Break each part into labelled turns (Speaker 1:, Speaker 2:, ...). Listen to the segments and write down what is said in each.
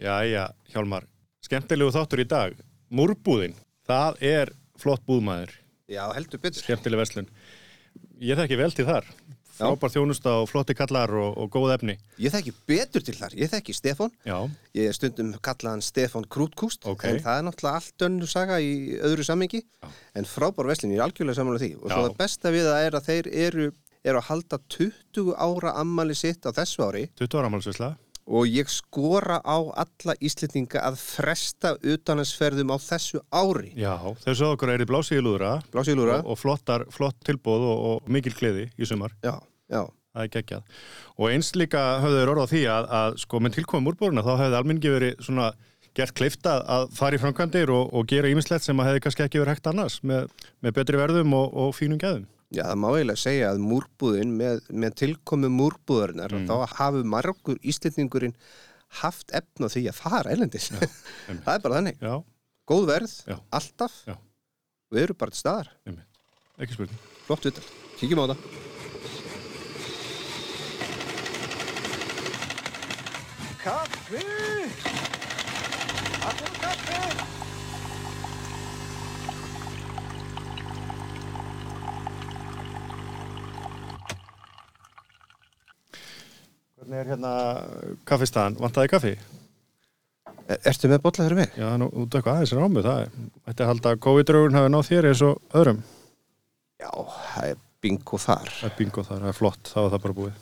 Speaker 1: Jæja, Hjálmar, skemmtilegu þáttur í dag. Múrbúðin, það er flott búðmaður,
Speaker 2: Já, heldur betur.
Speaker 1: skemmtileg verslun. Ég þekki vel til þar.
Speaker 2: Já.
Speaker 1: Frábær þjónusta og flotti kallar og, og góð efni.
Speaker 2: Ég þekki betur til þar. Ég þekki Stefán.
Speaker 1: Já,
Speaker 2: Ég er stundum kallaðan Stefán Krútkúst.
Speaker 1: Ok.
Speaker 2: En það er náttúrulega allt önnur saga í öðru sammingi.
Speaker 1: Já.
Speaker 2: En frábár veslin, ég er algjörlega samanlega því. Og
Speaker 1: Já.
Speaker 2: svo það besta við það er að þeir eru, eru að halda 20 ára ammali sitt á þessu ári
Speaker 1: 20 ára málsvisla.
Speaker 2: og ég skora á alla Íslendinga að fresta utanansferðum á þessu ári.
Speaker 1: Já, þessu okkur er í blásið í lúðra
Speaker 2: Blásið í lúðra.
Speaker 1: og, og flottar, flott tilbúð og, og mikil gleði í sumar.
Speaker 2: Já, já.
Speaker 1: Það er geggjað. Og eins líka höfðu þeir orðað því að, að sko með tilkomum úrbúruna þá hefði almenningi verið svona gert kliftað að fara í framkvæmdir og, og gera ýmislegt sem að hefði kannski ekki verið hægt annars með, með betri verðum og, og fínum gæðum.
Speaker 2: Já, það má eiginlega segja að múrbúðin með, með tilkomi múrbúðarinnar
Speaker 1: Mm.
Speaker 2: þá hafi margur íslendingurinn haft efna því að fara elendis. það er bara þannig.
Speaker 1: Já,
Speaker 2: Góð verð,
Speaker 1: Já.
Speaker 2: alltaf,
Speaker 1: Já.
Speaker 2: við erum bara til staðar.
Speaker 1: einmitt. Ekki spurning.
Speaker 2: Flott vittal. Kíkjum á það.
Speaker 3: Kaffi! Allir með kaffi!
Speaker 1: Hvernig er hérna kaffistæðan? Vantaði kaffi?
Speaker 2: Er, E, ertu með bolla fyrir mig?
Speaker 1: Já, nú, út eitthvað aðeins rámu það. er- Ætti að halda að COVID-draugun hafi náð þér eins og öðrum.
Speaker 2: Já, það er bingo þar.
Speaker 1: Það er bingo þar, það er flott, þá er það bara búið.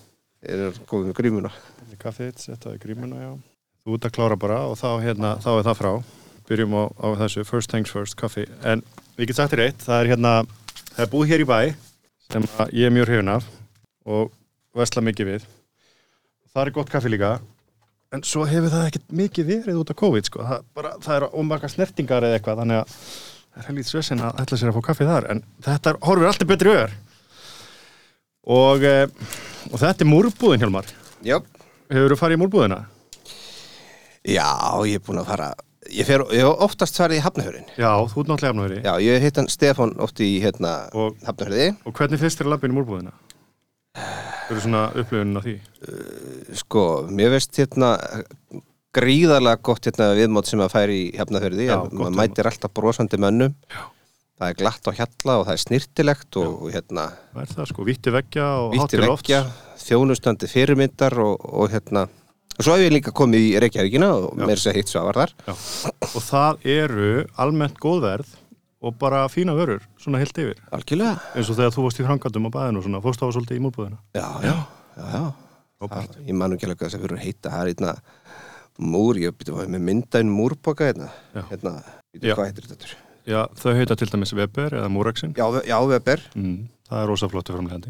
Speaker 2: Þeir eru komið með grímuna.
Speaker 1: Í kaffið þitt, setja það í grímuna, já. Þú ert að klára bara og þá, hérna, þá er það frá. Byrjum á, á þessu, first things first, kaffi. En ég get sagt þér eitt, það er hérna, það er búið hér í bæ sem að ég er mjög hrifin af og vesla mikið við. Það er gott kaffi líka, en svo hefur það ekkert mikið verið út af COVID, sko. Það, bara, það er ómarga snertingar eða eitthvað, þannig að það er helvítið svesin að ætla sér að fá kaffi þar, en þetta horfir alltaf betri öður. Og, eh, og þetta er múrbúðin, Hjálmar.
Speaker 2: Já.
Speaker 1: Hefur þú farið í múlbúðina?
Speaker 2: Já, ég er búin að fara. Ég, fer, ég hef oftast farið í Hafnahörin.
Speaker 1: Já, þú ert náttúrulega afnöðri.
Speaker 2: Já, ég hef hittan Stefán oft í hérna,
Speaker 1: Og-
Speaker 2: Hafnahöriði.
Speaker 1: Og hvernig finnst þér að labba inn í múlbúðina? Þú eru svona upplifunin af því.
Speaker 2: Sko, mér veist hérna gríðarlega gott hérna viðmót sem að færi í hefnaferði
Speaker 1: Já, gott
Speaker 2: maður
Speaker 1: viðmót.
Speaker 2: mætir alltaf brosandi mönnum
Speaker 1: Já.
Speaker 2: það er glatt á hjalla og það er snirtilegt og, og hérna
Speaker 1: Það er það sko, vítti veggja og
Speaker 2: vítti
Speaker 1: hátti loft.
Speaker 2: vekkja, þjónustandi fyrirmyndar og, og hérna og svo hef ég líka komið í Reykjavíkina og
Speaker 1: Já.
Speaker 2: mér sér hitt svo var þar
Speaker 1: Já. Og það eru almennt góðverð og bara fína vörur, svona heilt yfir.
Speaker 2: Algjörlega?
Speaker 1: Eins og þegar þú varst í frangandum á bæðinu og svona, fórst á að svolítið í múlbúðina.
Speaker 2: Já, já, já, já.
Speaker 1: Frábært.
Speaker 2: Það- Ég man nú ekki alveg hvað þess að fyrir heita það er hérna múr, ég byrja með myndaðin múrboka hérna,
Speaker 1: Já.
Speaker 2: hérna
Speaker 1: Já.
Speaker 2: byrja, hvað heitir þetta? aftur?
Speaker 1: Já, þau heita til dæmis Weber eða Múraksin.
Speaker 2: Já, já, Weber,
Speaker 1: Mm, það er rosa flottu framlegandi.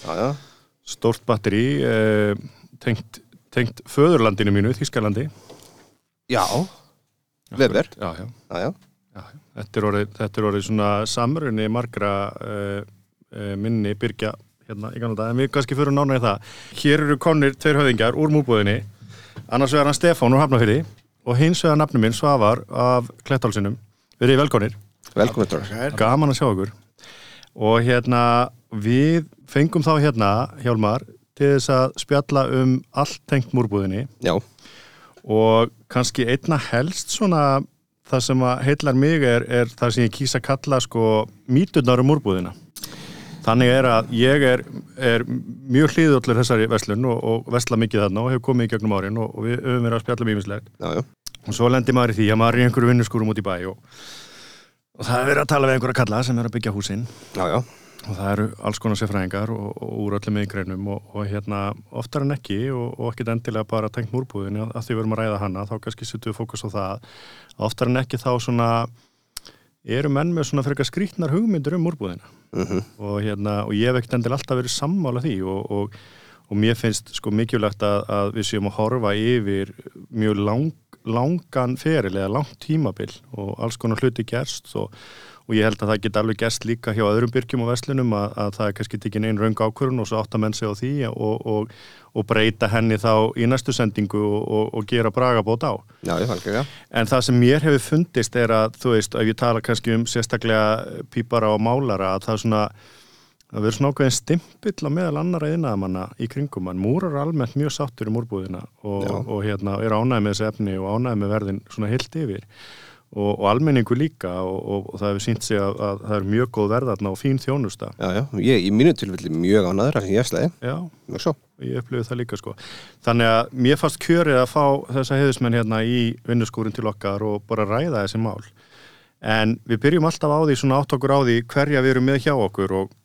Speaker 2: já, já,
Speaker 1: Stórt batteri, eh, tengt, tengt föðurlandinu mínu, Þískalandi.
Speaker 2: já, Weber,
Speaker 1: Já, já.
Speaker 2: já, já.
Speaker 1: Já, þetta er orðið, þetta er orðið svona samrunni margra uh, uh, minni byrgja hérna í ganlega dag, en við kannski fyrir nána í það. Hér eru konir tveir höfðingar úr múlbúðinni, annars vegar hann Stefán úr Hafnafyrði og hins vegar nafnum minn Svavar af Klettálsinum. Verið velkonir,
Speaker 2: Velkomin Dóra.
Speaker 1: gaman að sjá okkur. Og hérna, við fengum þá hérna, Hjálmar, til þess að spjalla um allt tengt múlbúðinni
Speaker 2: Já,
Speaker 1: og kannski einna helst svona það sem að heillar mig er, er það sem ég kýsa að kalla sko mýturnar um úrbúðina þannig er að ég er, er mjög hlýðullur þessari verslun og, og vesla mikið þarna og hefur komið í gegnum árin og, og við höfum verið að spjalla mjög mislegt
Speaker 2: já, já.
Speaker 1: og svo lendir maður í því að maður er í einhverju vinnuskúrum út í bæ og, og það er verið að tala við einhverja kalla sem er að byggja húsinn
Speaker 2: Já, já.
Speaker 1: og það eru alls konar sérfræðingar og, og úr öllum yðgreinum og, og hérna oftar en ekki og, og ekkit endilega bara tengt múrbúðinu að, að því við erum að ræða hana þá kannski setjum við fókus á það oftar en ekki þá svona eru menn með svona frekar skrýtnar hugmyndur um múrbúðina og hérna og ég hef ekkit endilega alltaf verið sammála því og, og, og mér finnst sko mikilvægt að, að við séum að horfa yfir mjög lang, langan feril eða langt tímabil og alls konar hluti gerst og og ég held að það geti alveg gerst líka hjá öðrum byrgjum og verslunum að, að það er kannski tekin einn raung ákvörun og svo átta menn sig á því og, og, og breyta henni þá í næstu sendingu og, og, og gera bragabót á.
Speaker 2: Já, já, algjörlega.
Speaker 1: En það sem mér hefur fundist er að, þú veist, ef ég tala kannski um sérstaklega pípara og málara, að það er svona, það verður svona ákveðin stimpill á meðal annara yðnaðamanna í kringum hann. Múrar er almennt mjög sáttur í múrbúðina og,
Speaker 2: Já.
Speaker 1: og hérna, er ánægð með þessi efni og ánægð með verðin svona heilt yfir og, og almenningu líka og, og, og það hefur sínt sig að, að það er mjög góð verðarna og fín þjónusta.
Speaker 2: Já, já, ég í mínu tilfelli mjög ánæður að ég slæði,
Speaker 1: Já,
Speaker 2: mjög svo.
Speaker 1: ég upplifið það líka sko. Þannig að mér fannst kjörið að fá þessa heiðismenn hérna í vinnuskúrin til okkar og bara ræða þessi mál. En við byrjum alltaf á því svona átt okkur á því hverja við erum með hjá okkur og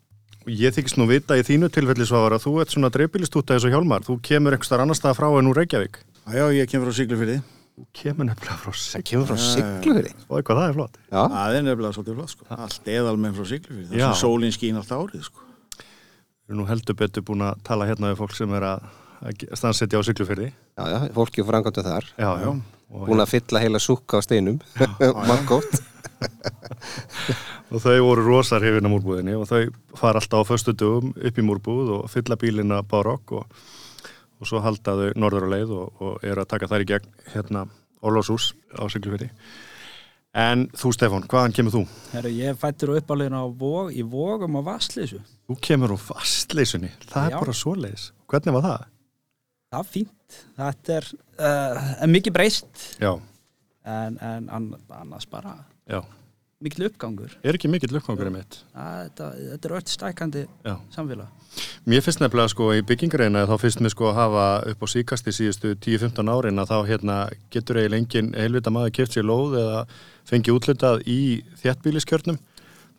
Speaker 1: og ég þykist nú vita í þínu tilfelli Svavar að þú ert svona dreifbílist út af þessu hjálmar. Þú kemur einhvers þar annars staðar frá en úr Reykjavík.
Speaker 4: Já, já, ég kemur frá Siglufyrði.
Speaker 1: Þú kemur nefnilega frá sig.
Speaker 2: Það kemur frá Siglufyrði.
Speaker 1: Og eitthvað það er flott.
Speaker 2: Já,
Speaker 4: Það er nefnilega svolítið flott, sko. Allt eðalmenn frá Siglufyrði. Það
Speaker 1: Já.
Speaker 4: sem sólinn skín allt árið, sko.
Speaker 1: Við erum nú heldur betur búin að tala hérna við fólk sem er að að ge- stanssetja á syklufyrði.
Speaker 2: já, já, fólki og frangöndu þar.
Speaker 1: Já, já. Og,
Speaker 2: Búin að fylla heila súkka á steinum, margótt.
Speaker 1: og þau voru rosar hefina múrbúðinni og þau fara alltaf á föstu dögum upp í múrbúð og fylla bílinna barokk og, og svo halda þau norður á leið og, og eru að taka þær í gegn hérna Ólásús á Siglufjörði. En þú Stefán, hvaðan kemur þú?
Speaker 5: Herru, ég er fættur og uppalinn á vog, í vogum á vastleysu.
Speaker 1: Þú kemur úr fastleysunni, það
Speaker 5: Já.
Speaker 1: er bara svoleiðis. Hvernig var það?
Speaker 5: Það er fínt. Þetta er, uh, er mikið breyst
Speaker 1: Já,
Speaker 5: en, en ann- annars bara
Speaker 1: já.
Speaker 5: mikil uppgangur.
Speaker 1: Er ekki mikill lukkangurinn mitt?
Speaker 5: Það, þetta, þetta er öll stækandi
Speaker 1: Já.
Speaker 5: samfélag.
Speaker 1: Mér finnst nefnilega sko í byggingareina þá finnst mér sko að hafa upp á síkasti síðustu 10-15 árin að þá hérna getur eiginlega engin heilvita maður keft sér lóð eða fengið útlitað í þjættbíliskjörnum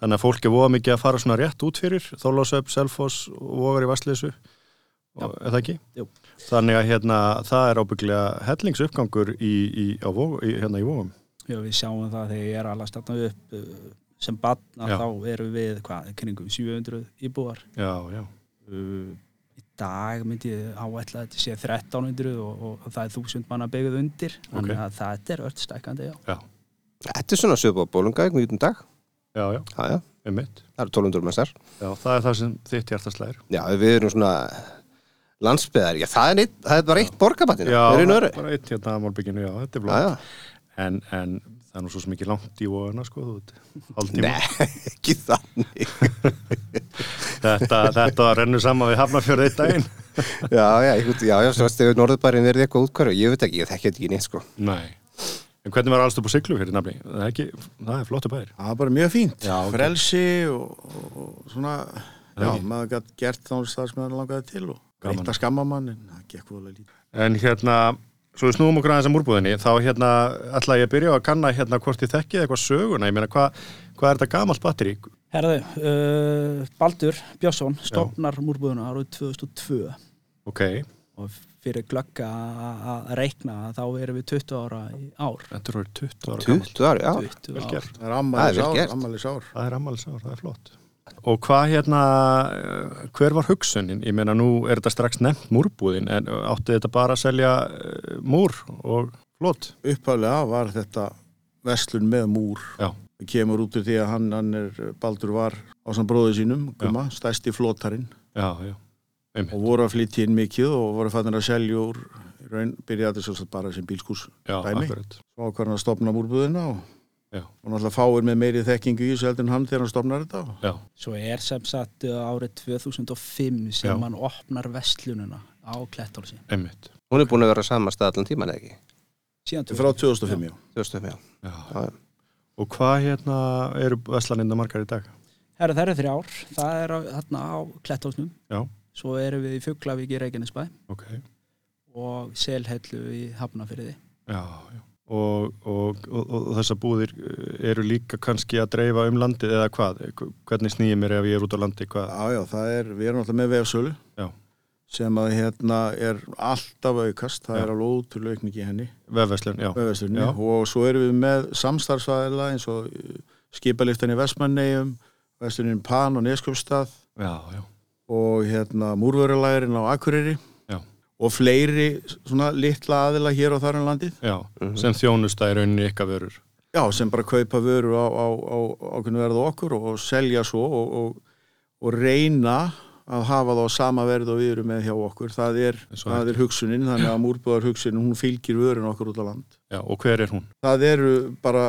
Speaker 1: þannig að fólk er voða mikið að fara svona rétt út fyrir Þólasöp, Selfoss og vogar í Vastleysu og, er það ekki?
Speaker 5: Jú.
Speaker 1: Þannig að hérna það er ábygglega hellingsuppgangur í, í, á vog, í, hérna í vogum
Speaker 5: Já, við sjáum það þegar ég er alveg stanna upp uh, sem batna
Speaker 1: Já.
Speaker 5: þá erum við hvað, kringum 700 íbúar.
Speaker 1: Já, já,
Speaker 5: Uh, í dag myndi ég áætla að þetta sé 1300 og, og, það er 1000 manna byggð undir. Þannig að þetta er öll stækandi, já.
Speaker 1: já,
Speaker 2: Þetta er svona sögbá bólunga, einhvern veginn dag.
Speaker 1: já, já,
Speaker 2: Já, já,
Speaker 1: um
Speaker 2: það eru 1200 mestar.
Speaker 1: Já, það er það sem þitt hjartaslæðir
Speaker 2: Já, við erum svona landsbyðar. Já, það er, neitt, það er bara eitt hérna. borgarbattina. það er einu öru.
Speaker 1: bara eitt hérna að málbygginu, já, þetta er
Speaker 2: Já,
Speaker 1: blótt
Speaker 2: já.
Speaker 1: en, en það er nú svo sem ekki langt í vóðuna sko, þú veit, haldtíma
Speaker 2: Nei, ekki þannig.
Speaker 1: þetta, þetta rennur saman við Hafnarfjörð eitt daginn
Speaker 2: Já, já, einhvern, já, já, svo að stegur norðbærin verið eitthvað útkværu. Ég veit ekki, ég þekki þetta ekki neitt, sko.
Speaker 1: Nei, en hvernig var allstöp á siglu fyrir nafni? Það er, ekki, það er flottu bæðir
Speaker 4: Það var bara mjög fínt.
Speaker 1: Já, ok.
Speaker 4: Frelsi og, og, og svona, já, maður gætt gert þá það sem maður langaði til og
Speaker 1: Gaman.
Speaker 4: reynt að skamma mann, en það gekk voðalega lítið.
Speaker 1: En hérna, svo við snúum okkur aðeins að múrbúðinni þá hérna, ætla ég að byrja á að kanna hérna hvort ég þekkið eitthvað söguna, ég meina hvað hva er þetta gamalt batteri?
Speaker 5: Herðu, uh, Baldur Björnsson stopnar múrbúðuna árið 2002
Speaker 1: Ok,
Speaker 5: og fyrir glögg að að reikna þá erum við 20 ára í ár.
Speaker 1: þetta eru orðið 20 ára gamalt
Speaker 2: 20 ári, já.
Speaker 5: 20
Speaker 1: Vel
Speaker 5: ár.
Speaker 1: gert,
Speaker 4: Það er
Speaker 2: Það er vel gert.
Speaker 4: ammælisár, ammælisár.
Speaker 1: það er ammælisár, það er flott Og hvað hérna, eh, hver var hugsunin? Ég meina nú er þetta strax nefnt múrbúðin en átti þetta bara að selja eh, múr og flott?
Speaker 4: Upphæflega var þetta vestlun með múr.
Speaker 1: Já.
Speaker 4: Það kemur út úr því að hann, hann er, Baldur var á svona bróðu sínum, Guma, stæsti flótarinn
Speaker 1: Já, já,
Speaker 4: og voru að flytja inn mikið og voru fannir að selja úr, í raun byrjaði þetta svolítið bara sem bílskús.
Speaker 1: já,
Speaker 4: Dæmi?
Speaker 1: akkurat.
Speaker 4: Svo ákvarðan að stopna múrbúðina og,
Speaker 1: Já.
Speaker 4: og náttúrulega fáir með meiri þekkingu í þessu heldur en hann þegar hann stopnar þetta. og-
Speaker 1: Já,
Speaker 5: Svo er sem sagt uh, árið 2005 sem
Speaker 1: Já.
Speaker 5: hann opnar vestlununa á Klettálsi.
Speaker 1: einmitt.
Speaker 2: Hún er búin að vera á sama stað allan tíman, eða ekki?
Speaker 5: Síðan
Speaker 4: Frá 2005, já.
Speaker 2: 2005, já.
Speaker 1: Já.
Speaker 2: Já, já.
Speaker 1: Og hvað hérna eru veslaninda margar í dag?
Speaker 5: Herðu, það eru þrjár. Það er á, þarna á Klettálsnum.
Speaker 1: Já.
Speaker 5: Svo erum við í Fuglavík í Reykjanesbæ
Speaker 1: Ok,
Speaker 5: og Selhellu í Hafnafyrði.
Speaker 1: já, já. Og, og, og, og þessar búðir eru líka kannski að dreifa um landið eða hvað? Hvernig snýjum mér ef ég er út á landi? Hvað?
Speaker 4: Já, já, það er, við erum alltaf með vefsölu
Speaker 1: Já.
Speaker 4: sem að hérna er alltaf að aukast, það
Speaker 1: Já.
Speaker 4: er alveg ótrúlega aukning í henni,
Speaker 1: Vefveslun, já.
Speaker 4: vefsölunni
Speaker 1: Já.
Speaker 4: og svo erum við með samstarfsvæðila eins og uh, skipaliftan í Vestmanneigum, Vestlunin Pan og Neskjöpstað
Speaker 1: Já, já.
Speaker 4: og hérna múrvörulægurinn á Akureyri
Speaker 1: Já.
Speaker 4: og fleiri svona litla aðila hér og þar um landið,
Speaker 1: Já, sem þjónusta í rauninni ykkar vörur.
Speaker 4: já, sem bara kaupa vörur á, á, á ákveðnu verðu okkur og, og selja svo og, og, og reyna að hafa það á sama verð og við erum með hjá okkur það er,
Speaker 1: Eins og
Speaker 4: það er hugsunin, þannig að múrbúðar hugsunin, hún fylgir vörun okkur út á land
Speaker 1: Já, og hver er hún?
Speaker 4: það eru bara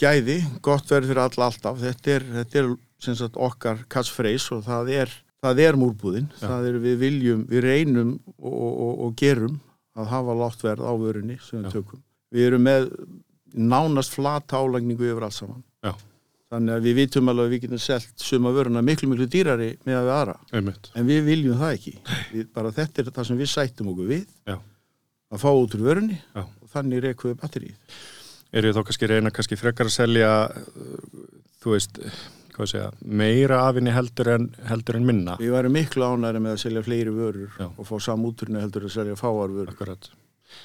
Speaker 4: gæði, gott verð fyrir alla alltaf þetta er, þetta er sem sagt okkar katsfreys og það er, það er múrbúðin, það er við viljum, við reynum og, og, og gerum að hafa lágt verð á vörunni sem við
Speaker 1: Já.
Speaker 4: tökum. Við erum með nánast flata álagningu yfir allt saman.
Speaker 1: Já.
Speaker 4: Þannig að við vitum alveg að við getum selt suma vöruna miklu, miklu dýrari með að við aðra.
Speaker 1: einmitt,
Speaker 4: En við viljum það ekki. Við, bara þetta er það sem við sættum okkur við
Speaker 1: já.
Speaker 4: að fá út úr vörunni
Speaker 1: Já.
Speaker 4: og þannig reykum við batterið.
Speaker 1: Eru þið þá kannski að reyna kannski frekar að selja, uh, þú veist, hvað ég segja, meira af henni heldur en, heldur en minna?
Speaker 4: Við varum miklu ánæri með að selja fleiri vörur
Speaker 1: Já.
Speaker 4: og fá saman útrunni heldur að selja fáar vörur.
Speaker 1: Akkurat.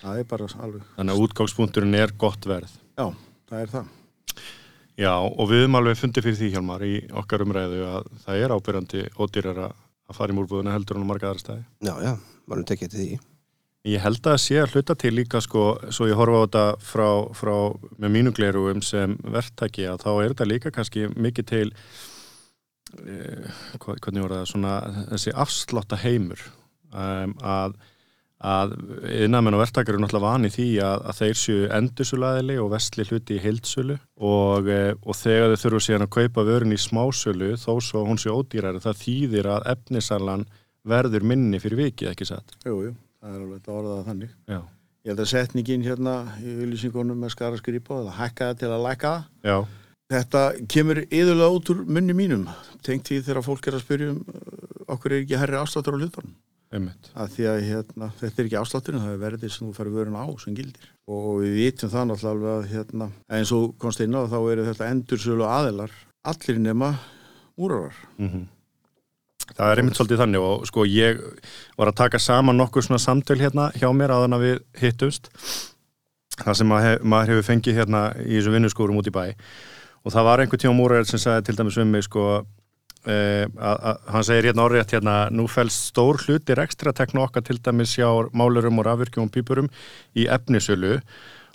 Speaker 4: Það er bara alveg,
Speaker 1: Þannig að útgangspunkturinn er gott verð.
Speaker 4: já, það er það.
Speaker 1: Já, og við höfum alveg fundið fyrir því, Hjalmar, í okkar umræðu að það er ábyrjandi ódýrar að fara í múrbúðuna heldur en á marga aðra staði.
Speaker 2: Já, já, varum tekið til því.
Speaker 1: Ég held að það sé að hluta til líka sko, svo ég horfa á þetta frá, frá með mínu gleruum sem verktæki að þá er þetta líka kannski mikið til eh, hvað- hvernig voru það, svona þessi afslotta heimur um, að að innamenn og verktakar eru náttúrulega vani því að, að þeir séu endursulaðili og vestli hluti í heildsölu og, eh, og þegar þau þurfu síðan að kaupa vörun í smásölu þó svo hún sé ódýrari það þýðir að efnisalan verður minni fyrir vikið ekki satt
Speaker 4: Jú, jú, það er alveg þetta orðað þannig.
Speaker 1: Já,
Speaker 4: Ég held að setningin hérna í auðlýsingunum með skara skrýpa eða hækka það til að lækka það.
Speaker 1: já
Speaker 4: Þetta kemur yðurlega út úr munni mínum, tengt því þegar fólk er að spyrja um uh, okkur er ekki herri afsláttur á hlutunum.
Speaker 1: Einmitt.
Speaker 4: að því að hérna, þetta er ekki afslátturinn, það er verðið sem þú færði vörun á sem gildir og við vitum það náttúrulega alveg að hérna, eins og komst inn á þá eru þetta endursölu aðilar allir nema múrarar
Speaker 1: Mhm. Það er einmitt svolítið þannig og sko ég var að taka saman nokkuð svona samtöl hérna hjá mér áðan að við hittumst það sem maður, hef, maður hefur fengið hérna í þessu vinnuskórum út í bæ og það var einhver tíma múraður sem sagði til dæmis um mig sko eh, að, að hann segir hérna orðrétt hérna nú fælst stór hlutir ekstra tekna okkar til dæmis hjá málurum og rafvirkjum og pípurum í efnisölu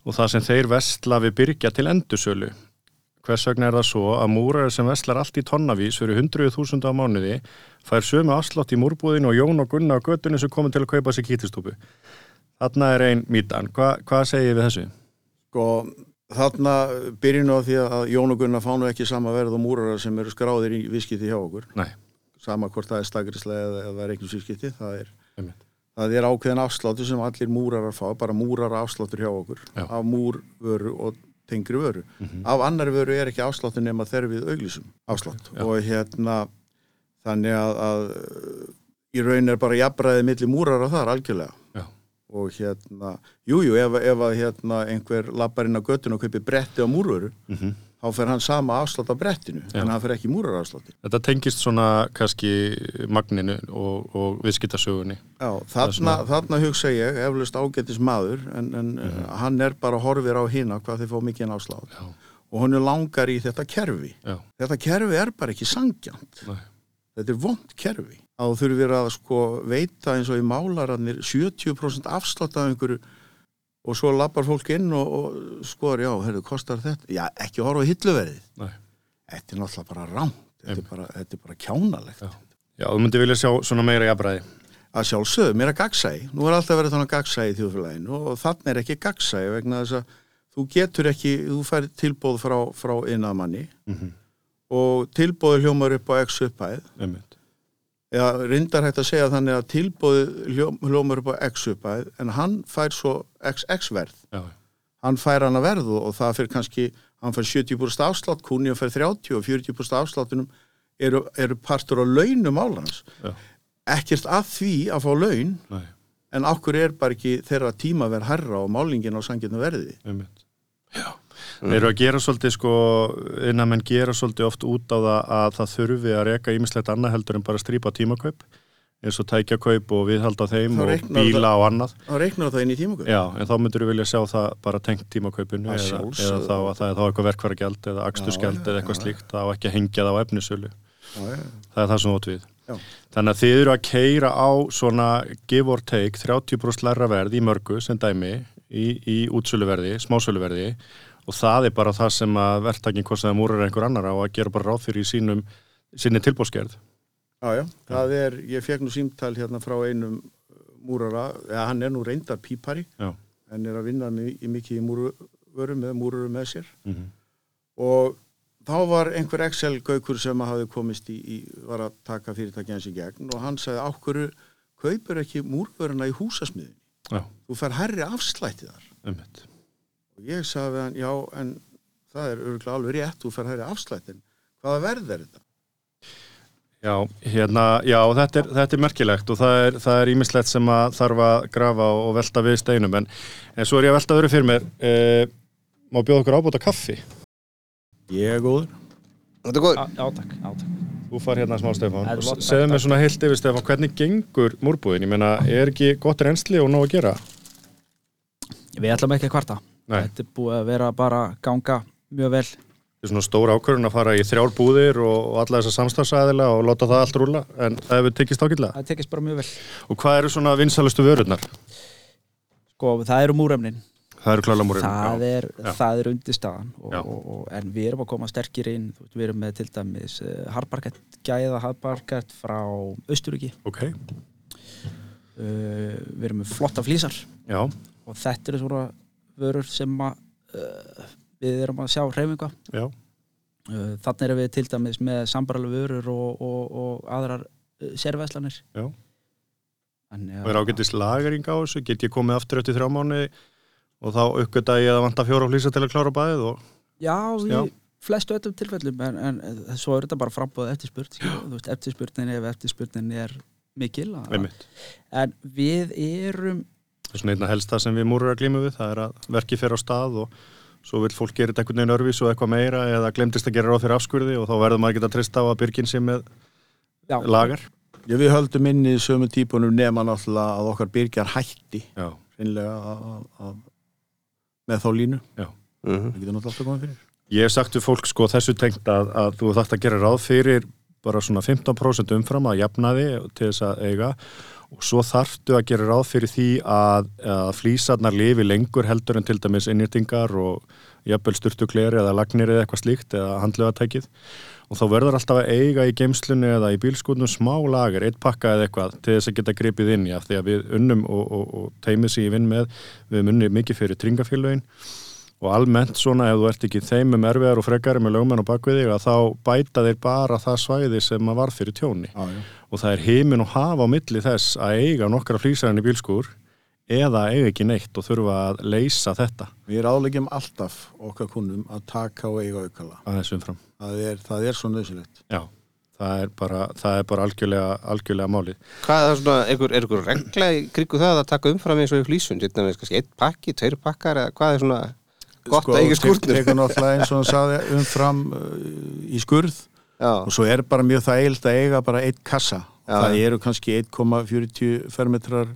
Speaker 1: og það sem þeir vestla við byrgja til endursölu Hvers vegna er það svo að múraður sem veslar allt í tonnavís fyrir 100.000 á mánuði fær sömu afslátt í múrbúðinu og Jón og Gunna á götunni sem komið til að kaupa sér kýtistúpu. Þarna er ein mítan. Hva, hvað segir við þessu?
Speaker 4: sko þarna byrjum á því að Jón og Gunnar fánu ekki sama verð og múrarar sem eru skráðir í viskiti hjá okkur
Speaker 1: Nei,
Speaker 4: sama hvort það er stakrislega eða, eða reikningsviskiti það er
Speaker 1: einmitt.
Speaker 4: Það er ákveðin afsláttur sem allir múrarar fá, bara múrarar afsláttur hjá okkur,
Speaker 1: Já. Mhm.
Speaker 4: af múrvöru og tengri vöru. Af annari vöru er ekki afsláttur nema þegar við auglýsum afslátt. Og hérna, þannig að, að uh, í raun er bara jafnræðið milli múrarar þar algjörlega.
Speaker 1: Já.
Speaker 4: Og hérna, jújú, jú, ef, ef að hérna einhver lappar inn á göttun og kaupir bretti á múrvöru,
Speaker 1: Mhm.
Speaker 4: þá fer hann sama afslátt á brettinu, en hann fer ekki múrarar afslátti.
Speaker 1: Þetta tengist svona kannski magninu og, og viðskiptasögunni.
Speaker 4: Já, þarna, þarna hugsa ég, eflust ágættis maður, en, en eh, hann er bara horfir á hina hvað þið fá mikinn ásláð.
Speaker 1: Mhm. Já.
Speaker 4: Og hann er langar í þetta kerfi.
Speaker 1: Já,
Speaker 4: Þetta kerfi er bara ekki sangjant.
Speaker 1: Nei.
Speaker 4: Þetta er vond kerfi. Þá þurfum við að sko veita eins og í málarannir 70% afslátt af einhverju og svo lappar fólk inn og, og skoðar, já, herðu, kostar þetta? Já, ekki horfa á hilluverðið.
Speaker 1: nei.
Speaker 4: Þetta er náttúrulega bara rámt. Þetta er
Speaker 1: Einmitt.
Speaker 4: bara, þetta er bara kjánalegt.
Speaker 1: Já. Já, þú myndi vilja sjá svona meira jafnræði.
Speaker 4: að sjálfsögðu, mér að gagsæi nú er alltaf verið þannig gagsæi í þjóðfélaginu og þannig er ekki gagsæi vegna þess að þú getur ekki, þú fær tilbóð frá, frá innanmanni
Speaker 1: Mhm.
Speaker 4: og tilbóð hljómar upp á x upphæð
Speaker 1: Einmitt.
Speaker 4: eða reyndar hægt að segja þannig að tilbóð hljóm, hljómar upp á x upphæð en hann fær svo xx verð
Speaker 1: Já,
Speaker 4: hann fær hann að verðu og það fyrir kannski hann fær 70% afslátt, kúnja fær 30 og 40% afsláttunum eru, eru partur á launum álans
Speaker 1: já,
Speaker 4: ekkert að því að fá laun
Speaker 1: nei,
Speaker 4: En okkur er bara ekki þeirra tíma verð herra og málingin á sanginu verði.
Speaker 1: einmitt. Já. Þeir eru að gera svolítið sko, innan menn gera svolítið oft út á það að það þurfi að reka ýmislegt annað heldur en bara að strýpa tímakaup eins og tækjakaup og viðhalda þeim
Speaker 4: Þá
Speaker 1: og
Speaker 4: reiknar
Speaker 1: bíla og annað.
Speaker 4: Þá reiknar það inn í tímaköp.
Speaker 1: Já, en þá myndur við vilja sjá það bara tengt tímakaupinu
Speaker 4: Að
Speaker 1: eða,
Speaker 4: sjálfsögðu.
Speaker 1: eða þá að það er þá eitthvað verkværagjald eða aksturskjald
Speaker 4: Já,
Speaker 1: eða
Speaker 4: já,
Speaker 1: eitthvað
Speaker 4: já.
Speaker 1: slíkt þá ekki að hengja það á efnisölu
Speaker 4: Já, já.
Speaker 1: það er það sem þú átt við
Speaker 4: Já.
Speaker 1: Þannig að þið eru að keira á svona give or take 30% læra verð í mörgu sem dæmi í, í útsöluverði, smásöluverði og það er bara það sem að verktakin kostaði múrar einhver annar á að gera bara ráð fyrir í sínum, sinni tilbúrskerð
Speaker 4: já, já. Það er, ég fekk nú símtal hérna frá einum múrara, eða hann er nú reynda pípari,
Speaker 1: Já,
Speaker 4: en er að vinna mi- í mikið í múrvörum eða múrurum með sér.
Speaker 1: Mhm.
Speaker 4: Og þá var einhver Excel-gaukur sem hafði komist í, í, var að taka fyrirtækja hans í gegn og hann sagði, ákveru, kaupur ekki múrvöruna í húsasmiðinni.
Speaker 1: Já,
Speaker 4: Þú fer herri afslætti þar.
Speaker 1: ummitt.
Speaker 4: Og ég sagði við hann, já, en það er örgulega alveg rétt, þú fer herri afslættin. Hvaða verð er þetta?
Speaker 1: Já, hérna, já, þetta er, þetta er merkilegt og það er, það er ímislegt sem að þarf að grafa og velta við steinum en, en svo er ég að velta öðru fyrir mér e, má bjóða okkur ábúta kaffi
Speaker 4: Ég er góður.
Speaker 2: Þetta er góður.
Speaker 5: Á- Átak, átak.
Speaker 1: Þú far hérna smá Stefán
Speaker 5: Það er
Speaker 1: og
Speaker 5: vott-
Speaker 1: segðu mér svona heilt yfir Stefán hvernig gengur múrbúðin, ég meina er ekki gott reynsli og nóg að gera?
Speaker 5: Við ætlum ekki að kvarta.
Speaker 1: Nei,
Speaker 5: Þetta er búið að vera bara að ganga mjög vel.
Speaker 1: þetta er svona stór ákvörðun að fara í þrjár búðir og, og alla þessa samstagsæðila og láta það allt rúla en það hefur tekist ágætlega.
Speaker 5: Það tekist bara mjög vel.
Speaker 1: Og hvað eru svona vinsalustu vörurnar?
Speaker 5: Sko, það eru múremnin.
Speaker 1: Það eru klála múrinn.
Speaker 5: Það er,
Speaker 1: Já.
Speaker 5: það er undirstaðan. Og,
Speaker 1: Já.
Speaker 5: og, og, en við erum að koma sterkir inn. Þú veist, Við erum með til dæmis eh, harbarkett, gæða harbarkett frá Östuríki.
Speaker 1: Ok,
Speaker 5: Uh, við erum með flotta flýsar.
Speaker 1: já,
Speaker 5: Og þetta eru svona vörur sem að, uh, við erum að sjá hreyfinga.
Speaker 1: já,
Speaker 5: Uh, Þannig erum við til dæmis með sambarlega vörur og, og, og aðrar uh, sérveðslanir.
Speaker 1: Já.
Speaker 5: Þannig
Speaker 1: og er ágættis lagering á þessu, get ég komið aftur eftir þrjá mánu og þá aukvitað ég að vanta fjóra flýsa til að klára bæðið og
Speaker 5: Já, í
Speaker 1: Já.
Speaker 5: flestu öllum tilfellum en, en eh, svo er þetta bara frambúð eftirspurt skilur, sko. þú veist, eftirspurnin ef eftirspurnin er mikil að-
Speaker 1: einmitt.
Speaker 5: en við erum
Speaker 1: Það er svona einna helst það sem við múrur að glíma við, það er að verkið fer á stað og svo vil fólk gera þetta einhvern veginn örvís og eitthvað meira eða glemtist að gera ráð fyrir afskurði og þá verður maður að geta trist á að byrgin sé með
Speaker 5: já,
Speaker 1: lagar.
Speaker 4: Já, við höldum inn í sömu típunum nema náttúrulega að okkar byrgjar hætti
Speaker 1: Já,
Speaker 4: reynlega að, að- að, með þá línu.
Speaker 2: Mm -hmm.
Speaker 4: Það getur náttúrulega alltaf komið fyrir.
Speaker 1: ég hef sagt við fólk sko þessu tengt að, að þú þarft að gera ráð fyrir bara svona 15% umfram að jafna því til þess að eiga og svo þarftu að gera ráð fyrir því að, að flýsarnar lifi lengur heldur en til dæmis innýtingar og jafnvel sturtukleri eða lagnir eða eitthvað slíkt eða handlegatækið og þá verður alltaf að eiga í geimslunni eða í bílskutnum smá lager, eitt pakka eða eitthvað til þess að geta gripið inn í af því að við unnum og, og, og teimið sér í vinn með við höfum unnið mikið fyrir tringafélögin og almennt svona ef þú ert ekki þeim um erfiðar og frekari með lögmenn og bakviði að þá bæta þeir bara það svæði sem að var fyrir tjóni
Speaker 4: Já, já.
Speaker 1: og það er heimin og hafa á milli þess að eiga nokkra flýsarinn í bílskur eða eiga ekki neitt og þurfa að leysa þetta
Speaker 4: Við ráðleggjum alltaf okkar kunnum að taka og eiga aukala.
Speaker 1: aðeins umfram.
Speaker 4: Það er, það er svo nöðsilegt.
Speaker 1: Já, það er bara, það er bara algjörlega, algjörlega málið.
Speaker 2: Hvað er það svona, einhver, er einhver regla í krigu það að taka umfram eins og í flýsun? Þetta er kannski eitt pakki, tveir pakkar eða hvað er svona
Speaker 4: Sko,
Speaker 2: gott að eiga skúrnum?
Speaker 4: Tekur náttúrulega eins og hann saði umfram uh, í skurð og
Speaker 2: Já,
Speaker 4: svo er bara mjög það eilt að eiga bara eitt kassa.
Speaker 2: Já,
Speaker 4: það
Speaker 2: já.
Speaker 4: eru kannski 1,40 fermetrar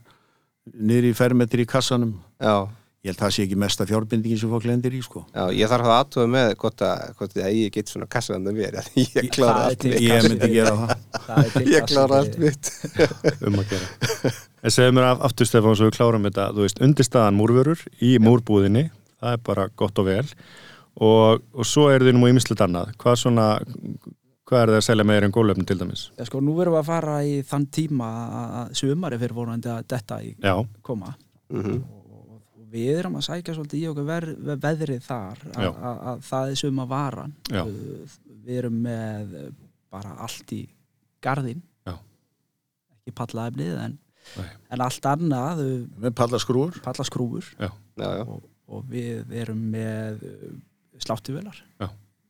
Speaker 4: niður í fermetri í kassanum.
Speaker 2: já,
Speaker 4: Ég held það sé ekki mesta fjárbindingin sem fólk lendir í sko.
Speaker 2: já, ég þarf að aðtóða með hvort að, hvort að ég get svona kassaðan með mér, að ég
Speaker 5: það
Speaker 2: klára
Speaker 5: er
Speaker 2: allt
Speaker 5: til-
Speaker 2: mitt.
Speaker 4: Ég myndi gera það.
Speaker 5: það er til
Speaker 2: Ég
Speaker 5: þess
Speaker 2: klára
Speaker 5: að-
Speaker 2: allt mitt.
Speaker 1: um að gera en segðu mér af, aftur Stefán svo við klárum þetta þú veist, undirstaðan múrvörur í múrbúðinni það er bara gott og vel og, og svo er þið nú ímislegt annað hvað svona, hvað er það að selja meira en gólöfni til dæmis?
Speaker 5: Já, sko, nú erum við að fara í þann tíma að- að sumari fyrir vonandi að detta í
Speaker 1: Já,
Speaker 5: koma
Speaker 2: Mhm.
Speaker 5: og, og við erum að sækja svolítið í okkur ver, veðrið þar að,
Speaker 1: Já.
Speaker 5: að, að það er suma varan Uh,
Speaker 1: Já.
Speaker 5: við erum með uh, bara allt í garðin
Speaker 1: Já.
Speaker 5: ekki pallaefnið en,
Speaker 1: Nei.
Speaker 5: en allt annað uh,
Speaker 4: Með pallaskrúur.
Speaker 5: pallaskrúfur
Speaker 2: Já, já,
Speaker 5: og, og við erum með uh, sláttuvelar
Speaker 1: Já.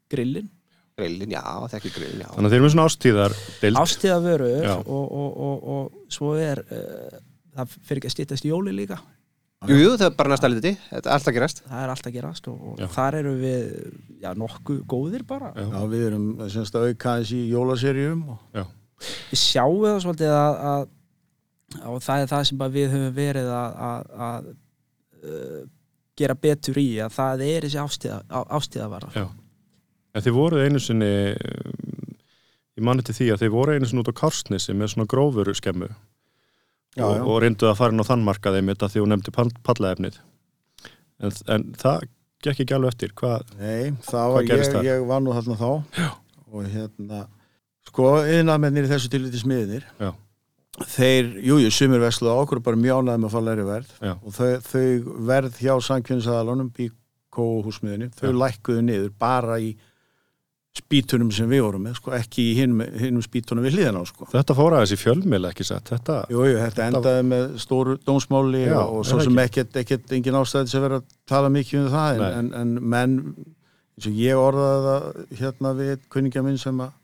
Speaker 5: grillin,
Speaker 2: grillin, já, þekki grillin, já.
Speaker 1: þannig að þeir eru með svona ástíðar deild,
Speaker 5: ástíðavörur
Speaker 1: Já.
Speaker 5: og, og, og, og svo er uh, það fyrir ekki að stýttast í jóli líka
Speaker 2: Jú, jú, það er bara næsta liti, þetta er alltaf gerast.
Speaker 5: það er allt að gerast og,
Speaker 1: Já.
Speaker 5: og þar eru við já, nokkuð góðir bara
Speaker 1: Já.
Speaker 4: Já, við erum semst að auka þessi jólaserjum og
Speaker 5: við sjáum það svolítið að, að og það er það sem að við höfum verið að, að, að uh, gera betur í að það er þessi ástíða, á, ástíðavarar
Speaker 1: Já. en þið voruð einu sinni um, ég manni til því að þið voruð einu sinni út á Kársnesi með svona grófuru skemmu
Speaker 4: Já,
Speaker 1: og,
Speaker 4: já.
Speaker 1: og reynduð að fara inn á þann markaði mitt að því hún nefndi pall- pallaefnið en, en það gekk ekki alveg eftir hvað,
Speaker 4: Nei, það
Speaker 1: Hvað
Speaker 4: var
Speaker 1: gerist
Speaker 4: ég,
Speaker 1: þar?
Speaker 4: ég var nú þarna þá Já. og hérna sko, yðnaðmennir í þessu tilliti smiðinir
Speaker 1: Já.
Speaker 4: þeir, jújú, jú, sumir vesluða okkur bara mjánaði með að fá læri verð
Speaker 1: Já.
Speaker 4: og þau, þau verð hjá sankjönsaðalunum í kóhúsmiðinu, þau
Speaker 1: Já.
Speaker 4: lækkuðu niður bara í spýtunum sem við vorum með, sko, ekki í hinum, hinum spýtunum við hliðina á, sko.
Speaker 1: Þetta fór aðeins í fjölmil ekki sett, þetta
Speaker 4: Jú, jú, þetta endaði með stóru dómsmáli
Speaker 1: Já,
Speaker 4: og, og svo
Speaker 1: er það
Speaker 4: sem ekkert, ekkert engin ástæði sem verið að tala mikið um það en,
Speaker 1: Nei.
Speaker 4: en, en menn, eins og ég orðaði það hérna við kuningja minn sem að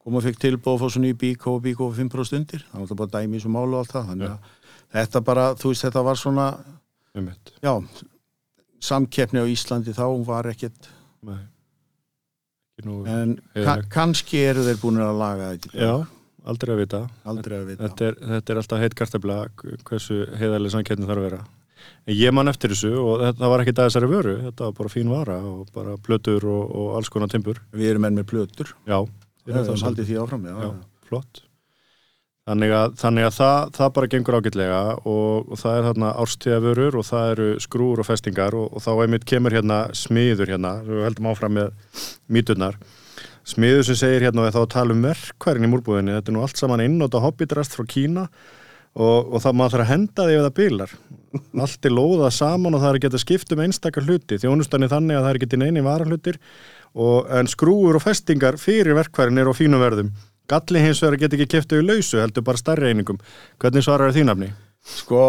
Speaker 4: kom og fekk tilbúið að fá svona í bíkó og bíkó og 5% undir, það var þetta bara dæmi í þessu málu og allt það, þannig að þetta bara, þú veist, þetta var svona,
Speaker 1: um
Speaker 4: já, samkeppni á Íslandi þá var ekkert,
Speaker 1: Nei Ekki nú-
Speaker 4: en ka
Speaker 1: Heiðarleg.
Speaker 4: kannski eru þeir búin að laga þetta, í dag.
Speaker 1: Já, aldrei að vita
Speaker 4: aldrei að vita.
Speaker 1: þetta er, þetta er alltaf heitt kartabla hversu heiðarlega samkettni þarf að vera en ég man eftir þessu og þetta var ekki dagessari vöru, þetta var bara fín vara og bara blötur og, og alls konar timbur
Speaker 4: Við erum enn með plötur,
Speaker 1: já,
Speaker 4: við erum það haldið því áfram, já,
Speaker 1: já,
Speaker 4: já.
Speaker 1: flott þannig að, þannig að það, það bara gengur ágætlega og, og það er þarna árstíðavörur og það eru skrúur og festingar og, og þá einmitt kemur hérna smiður hérna, við heldum áfram með mýturnar smiður sem segir hérna og þá að tala um verkværin í múrbúðinni þetta er nú allt saman innóta hobbydrast frá Kína og, og það maður þarf að henda því ef það bílar allt er lóðað saman og það er ekki hægt að skipta um einstakar hluti þjónustan er þannig að það er ekki til neini varahlutir og, en skrúur og festingar fyrir verkværin eru á fínum verðum galli hins vegar geta ekki kipta í lausu heldur bara starri einingum hvernig svarar þín afni?
Speaker 4: Sko,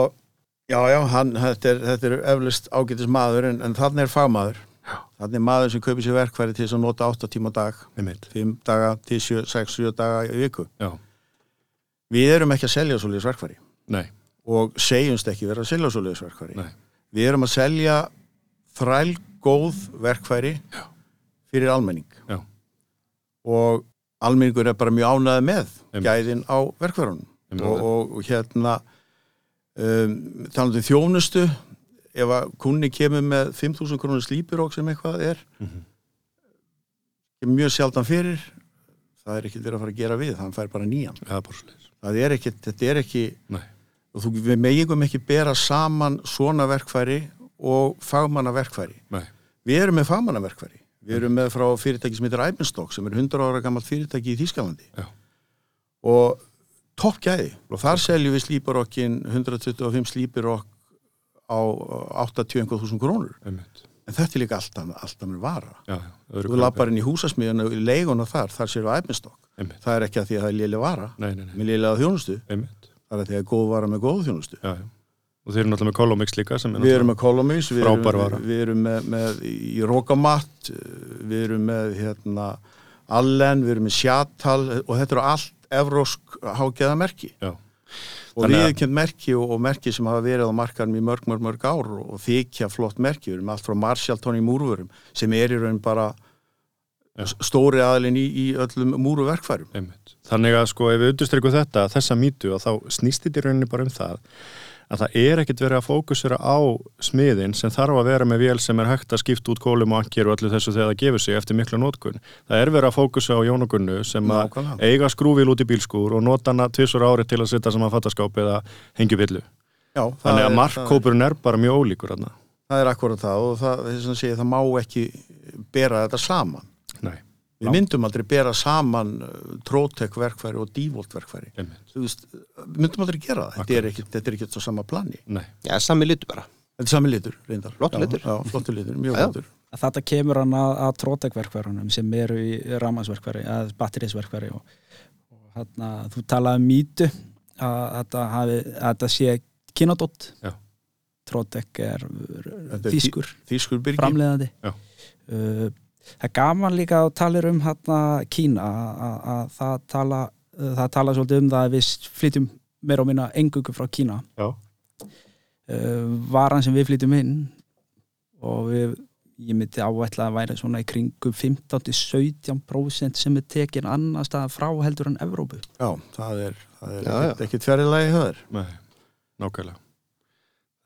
Speaker 4: já, já, hann, þetta, er, þetta er eflust ágætis maður en, en þannig er fagmaður. Þannig er maður sem kaupir sér verkfæri til þess að nota 8 tíma á dag, 5 daga til 7, 6, 7 daga í viku.
Speaker 1: Já,
Speaker 4: Við erum ekki að selja svoleiðis verkfæri
Speaker 1: nei,
Speaker 4: og segjumst ekki vera að selja svoleiðis verkfæri.
Speaker 1: Nei.
Speaker 4: Við erum að selja þræl góð verkfæri já. fyrir almenning
Speaker 1: já,
Speaker 4: og almenningur er bara mjög ánæði með
Speaker 1: Einmitt.
Speaker 4: gæðin á verkfærunum
Speaker 1: Einmitt.
Speaker 4: og, og, og hérna um, talandi um þjónustu ef að kunni kemur með 5.000 krónir slípirók sem eitthvað er mm mjög sjaldan fyrir það er ekkert verið að fara að gera við þann fær bara nýjan
Speaker 1: það er bara sliðis
Speaker 4: það er ekkert, þetta er ekki
Speaker 1: Nei,
Speaker 4: og þú, við megingum ekki bera saman svona verkfæri og fagmanna verkfæri
Speaker 1: nei,
Speaker 4: Við erum með fagmannaverkfæri. Við erum með frá fyrirtæki sem heitir Æbenstokk sem er 100 ára gammalt fyrirtæki í Þýskalandi.
Speaker 1: Já.
Speaker 4: Og topp gæði. Og þar seljum við slíparokkin 125 slíparokk á 80.000 krónur.
Speaker 1: einmitt
Speaker 4: En þetta er líka allt annað, allt annað vara.
Speaker 1: Já, já, öðru
Speaker 4: Þú lappar inn í húsasmiðuna og í leiguna þar, þar sér við Æbenstokk.
Speaker 1: Einmitt,
Speaker 4: Það er ekki að því að það er lélega vara
Speaker 1: nei, nei, nei,
Speaker 4: með lélega þjónustu.
Speaker 1: einmitt
Speaker 4: Það er að því að góð vara með góð þjónustu.
Speaker 1: Já, já, og þeir eru náttúrulega með Colomix líka sem er
Speaker 4: Við erum með Colomys, við
Speaker 1: Frábær
Speaker 4: erum,
Speaker 1: vara.
Speaker 4: við erum með, með í Rókamatt, við erum með hérna, Allen, við erum með Sjátal og þetta eru allt evrósk hágeða merki
Speaker 1: Já,
Speaker 4: og
Speaker 1: Þannig að-
Speaker 4: viðkjönd merki og, og merki sem hafa verið á markanum í mörg, mörg, mörg ár og, og þykja flott merki, við erum allt frá Marshalton í múrvörum sem er í raun bara
Speaker 1: Já.
Speaker 4: stóri aðlinn í, í öllum múruverkfærum.
Speaker 1: Einmitt. Þannig að sko ef við undirstrykum þetta, þessa mýtu og þá snýst þetta í rauninni bara um það að það er ekkit verið að fókusera á smiðin sem þarf að vera með vél sem er hægt að skipta út kólum og ankir og allir þessu þegar það gefur sig eftir miklu notkun. Það er verið að fókusa á Jónagunnu sem að
Speaker 4: Nákvæmlega.
Speaker 1: eiga skrúvil út í bílskúr og nota hana tvisur ári til að setja saman fattaskáp eða hengjubillu.
Speaker 4: Já, það
Speaker 1: Þannig
Speaker 4: er-
Speaker 1: að markkópurinn er bara mjög ólíkur þarna.
Speaker 4: Það er akkurat það og það, þess að segja það má ekki bera þetta saman.
Speaker 1: Nei,
Speaker 4: Við
Speaker 1: Já.
Speaker 4: myndum aldrei bera saman uh, Trótek verkfæri og Dívolt verkfæri.
Speaker 1: einmitt.
Speaker 4: Þú veist, uh, við myndum aldrei gera það. Þetta er ekki, þetta er ekki á sama plani.
Speaker 1: Nei,
Speaker 2: Já, sami litur bara.
Speaker 4: Þetta er sami litur, reyndar.
Speaker 2: Flottur
Speaker 4: Já,
Speaker 2: litur.
Speaker 4: Já, flottur litur,
Speaker 2: Já,
Speaker 4: mjög
Speaker 2: já.
Speaker 4: flottur.
Speaker 5: að þetta kemur hann að, að trótekverkverðunum sem eru í ramansverkverði, að batterísverkverði og, og hérna, þú talaði um mýtu að þetta, hafi, að þetta sé kynadótt
Speaker 1: Já.
Speaker 5: trótek er
Speaker 4: Þetta er
Speaker 5: þýskur
Speaker 4: Þýskur byrgi.
Speaker 5: framleiðandi
Speaker 1: Já.
Speaker 5: uh, það er gaman líka að tala um hérna, Kína að- að að það tala það tala svolítið um það að við flytjum meira og minna engungu frá Kína
Speaker 1: já,
Speaker 5: uh, varan sem við flytjum inn og við, ég myndi áætla að væri svona í kringum 15-17% sem er tekin annars staðar frá heldur en Evrópu.
Speaker 4: Já, það er, það er
Speaker 2: Já,
Speaker 4: ekkert- ekkert fjarrilagi höður.
Speaker 1: nei, nákvæmlega.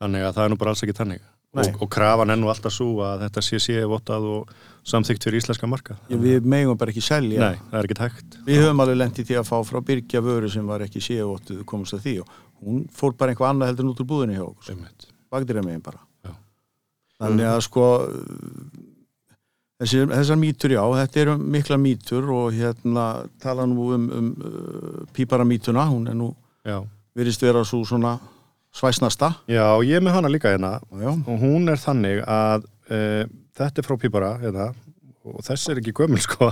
Speaker 1: Þannig að það er nú bara alls ekki þannig.
Speaker 4: Nei.
Speaker 1: og, og krafan er nú alltaf svo að þetta sé sé vottað og samþygt fyrir íslenska marka
Speaker 4: Við megum bara ekki selja.
Speaker 1: Nei, það er ekki hægt
Speaker 4: Við höfum alveg lent í því að fá frá byrgja vöru sem var ekki séu komast að því og hún fór bara einhvað annað heldur en út úr búðinu hjá okkur.
Speaker 1: Einmitt.
Speaker 4: bakdýra megin bara
Speaker 1: Já.
Speaker 4: þannig að sko þessi, þessar mýtur já þetta eru mikla mýtur og hérna tala nú um, um uh, píparamýtuna, hún er nú
Speaker 1: Já.
Speaker 4: virðist vera svo svona svæsnasta
Speaker 1: Já, ég er með hana líka hérna
Speaker 4: já, já,
Speaker 1: og hún er þannig að e, þetta er frá Pípara hérna, og þessi er ekki gömul sko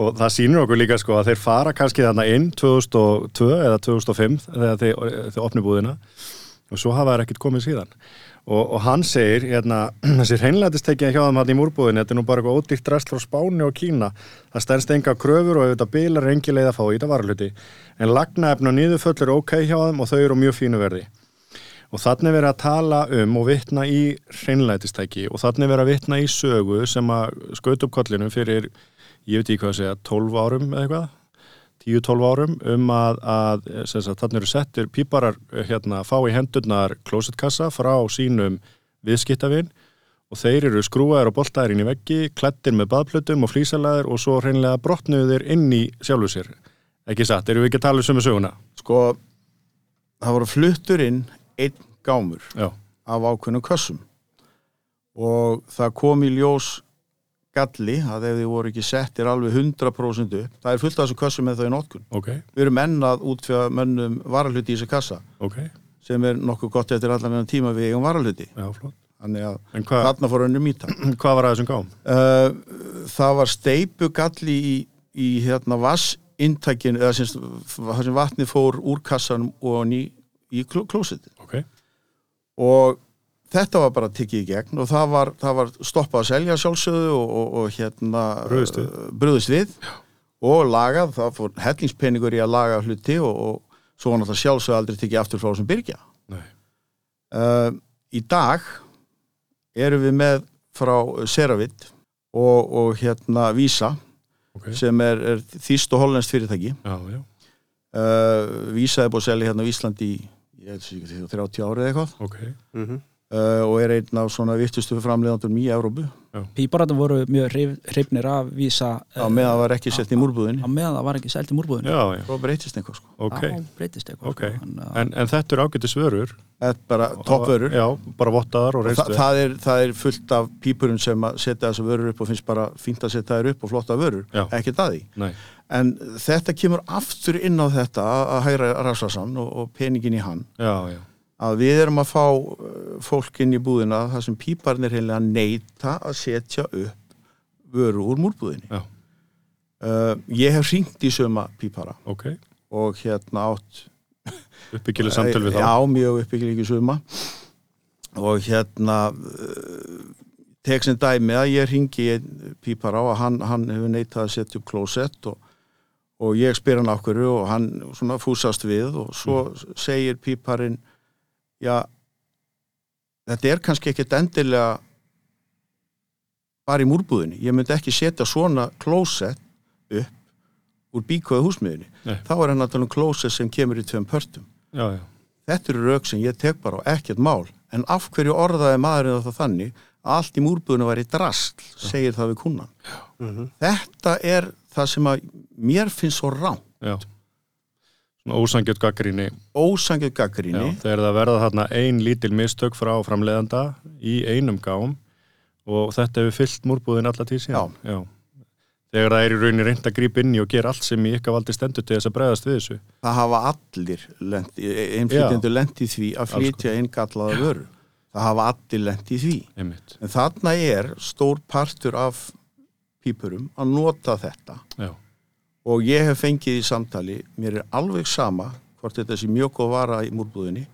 Speaker 1: og það sýnir okkur líka sko að þeir fara kannski þarna inn 2002 eða 2005 þegar þeir, þeir opni búðina og svo hafa þær ekkert komið síðan og, og hann segir hérna, þessi hreinlætistekja hjá þeim hann í múrbúðinu þetta er nú bara eitthvað ódýrt drasl frá Spáni og Kína það stendst enga kröfur og auðvitað bilar engi leið að fá í þetta varluti en lagnaefn og niðurföll eru ok hjá þeim og þau eru á mjög fínu verði Og þannig verið að tala um og vitna í hreinlætistæki og þannig verið að vitna í sögu sem að skaut upp kollinu fyrir, ég veit ekki hvað að segja, 12 árum eða eitthvað, 10-12 árum um að, að sem sagt, þannig eru settir píparar hérna fá í hendurnar klósetkassa frá sínum viðskiptavinn og þeir eru skrúaðir og boltaðir inn í veggi, klettir með baðplutum og flísalæðir og svo hreinlega brotnuðir inn í sjálfu sér. Ekki satt, eru við ekki að tala um sömu söguna?
Speaker 4: sko það voru fluttur inn einn gámur
Speaker 1: Já,
Speaker 4: af ákveðnum kössum og það kom í ljós galli að ef þið voru ekki settir alveg 100% upp, það er fullt af þessum kössum með þau í notkun.
Speaker 1: ok,
Speaker 4: Við erum enn að útfjöða mönnum varahluti í þessu kassa
Speaker 1: ok,
Speaker 4: sem er nokkuð gott eftir allan enn tíma við eigum varahluti.
Speaker 1: já, flott.
Speaker 4: Þannig að
Speaker 1: En hvað,
Speaker 4: þarna fór önnum í það.
Speaker 1: hvað var að þessum gám?
Speaker 4: Uh, það var steipugalli í, í hérna vassintækinu eða sem, það sem vatni fór úr kassanum og ný, í kló, klósiti
Speaker 1: Ok,
Speaker 4: og þetta var bara tiggið í gegn og það var, það var stoppað að selja sjálfsögðu og, og, og hérna
Speaker 1: Brugðist við.
Speaker 4: uh, brugðist við og lagað, það fór hellingspeningur í að laga hluti og, og svo var náttúrulega sjálfsögðu aldrei tiggið aftur frá sem byrgja
Speaker 1: nei,
Speaker 4: uh, í dag erum við með frá Seravit og, og hérna Visa
Speaker 1: ok,
Speaker 4: sem er, er þýst og hollenskt fyrirtæki
Speaker 1: já, já,
Speaker 4: uh, Visa er búið að selja hérna á Íslandi í ég veit ekki, 30 ári eða eitthvað
Speaker 1: ok,
Speaker 2: Mm -hmm.
Speaker 4: uh, og er einn af svona virtustu framleiðandurum í Európu
Speaker 5: Pípararnir voru mjög hrif- hrifnir af vísa uh,
Speaker 4: á meðan það var ekki sett í múrbúðinni
Speaker 5: á meðan það var ekki sælt í múrbúðinu
Speaker 1: já, já,
Speaker 4: þá breytist eitthvað sko
Speaker 1: ok.
Speaker 5: þá breytist eitthvað
Speaker 1: Ok.
Speaker 5: sko. Þannig að-
Speaker 1: En, en þetta eru ágæti svörur.
Speaker 4: það er bara toppvörur
Speaker 1: Eh, Já, bara vottaðar og
Speaker 4: Þa,
Speaker 1: reynstu.
Speaker 4: það, er, það er fullt af pípurum sem að setja þessar vörur upp og finnst bara fínt að setja þær upp og flotta vörur,
Speaker 1: Já.
Speaker 4: ekkert að því
Speaker 1: Nei,
Speaker 4: en þetta kemur aftur inn á þetta að að hæra rasasann og, og peningin í hann
Speaker 1: já, já,
Speaker 4: að við erum að fá uh, fólk inn í búðina þar sem píparnir heimlega neyta að setja upp vöru úr múrbúðinni
Speaker 1: Já.
Speaker 4: uh, ég hef hringt í söma pípara
Speaker 1: ok.
Speaker 4: og hérna átt
Speaker 1: Uppbyggileg samtöl við þá.
Speaker 4: Já, mjög uppbyggilegi suma og hérna eh, tek sem dæmi að ég ringi pípar á að hann, hann hefur neitað að setja upp klósett og, og ég spyr hann okkur og hann svona fúsast við og svo
Speaker 1: Mm.
Speaker 4: segir píparinn já þetta er kannski ekkert endilega bara í múrbúðinni ég myndi ekki setja svona klósett upp úr bíkóðu húsmiðinni
Speaker 1: Nei.
Speaker 4: þá er hann að tala um klósett sem kemur í tveim pörtum
Speaker 1: Já, já,
Speaker 4: Þetta eru rauk sem ég tek bara á ekkert mál en af hverju orðaði maðurinn það þannig að allt í múrbúðinu væri drasl segir það við kunnan.
Speaker 2: mhm.
Speaker 4: Þetta er það sem að mér finnst svo rám.
Speaker 1: já. Svona ósangjöld gaggríni.
Speaker 4: Ósangið
Speaker 1: Já,
Speaker 4: gaggrinni
Speaker 1: þegar það verða þarna ein lítil mistök frá framleiðanda í einum gám og þetta hefur fyllt múrbúðin alla tíð síðan. Já. Þegar það er í rauninni reynd að grípa inn í og gera allt sem í ykkar valdi stendur til þess að bregðast við þessu.
Speaker 4: það hafa allir lent, einflýtjendur lent í því að
Speaker 1: Alls
Speaker 4: flytja inn gallaða vöru. Það hafa allir lent í því.
Speaker 1: Einmitt.
Speaker 4: En þarna er stór partur af pípurum að nota þetta
Speaker 1: Já,
Speaker 4: og ég hef fengið í samtali mér er alveg sama hvort þetta sé mjög góð vara í múrbúðinni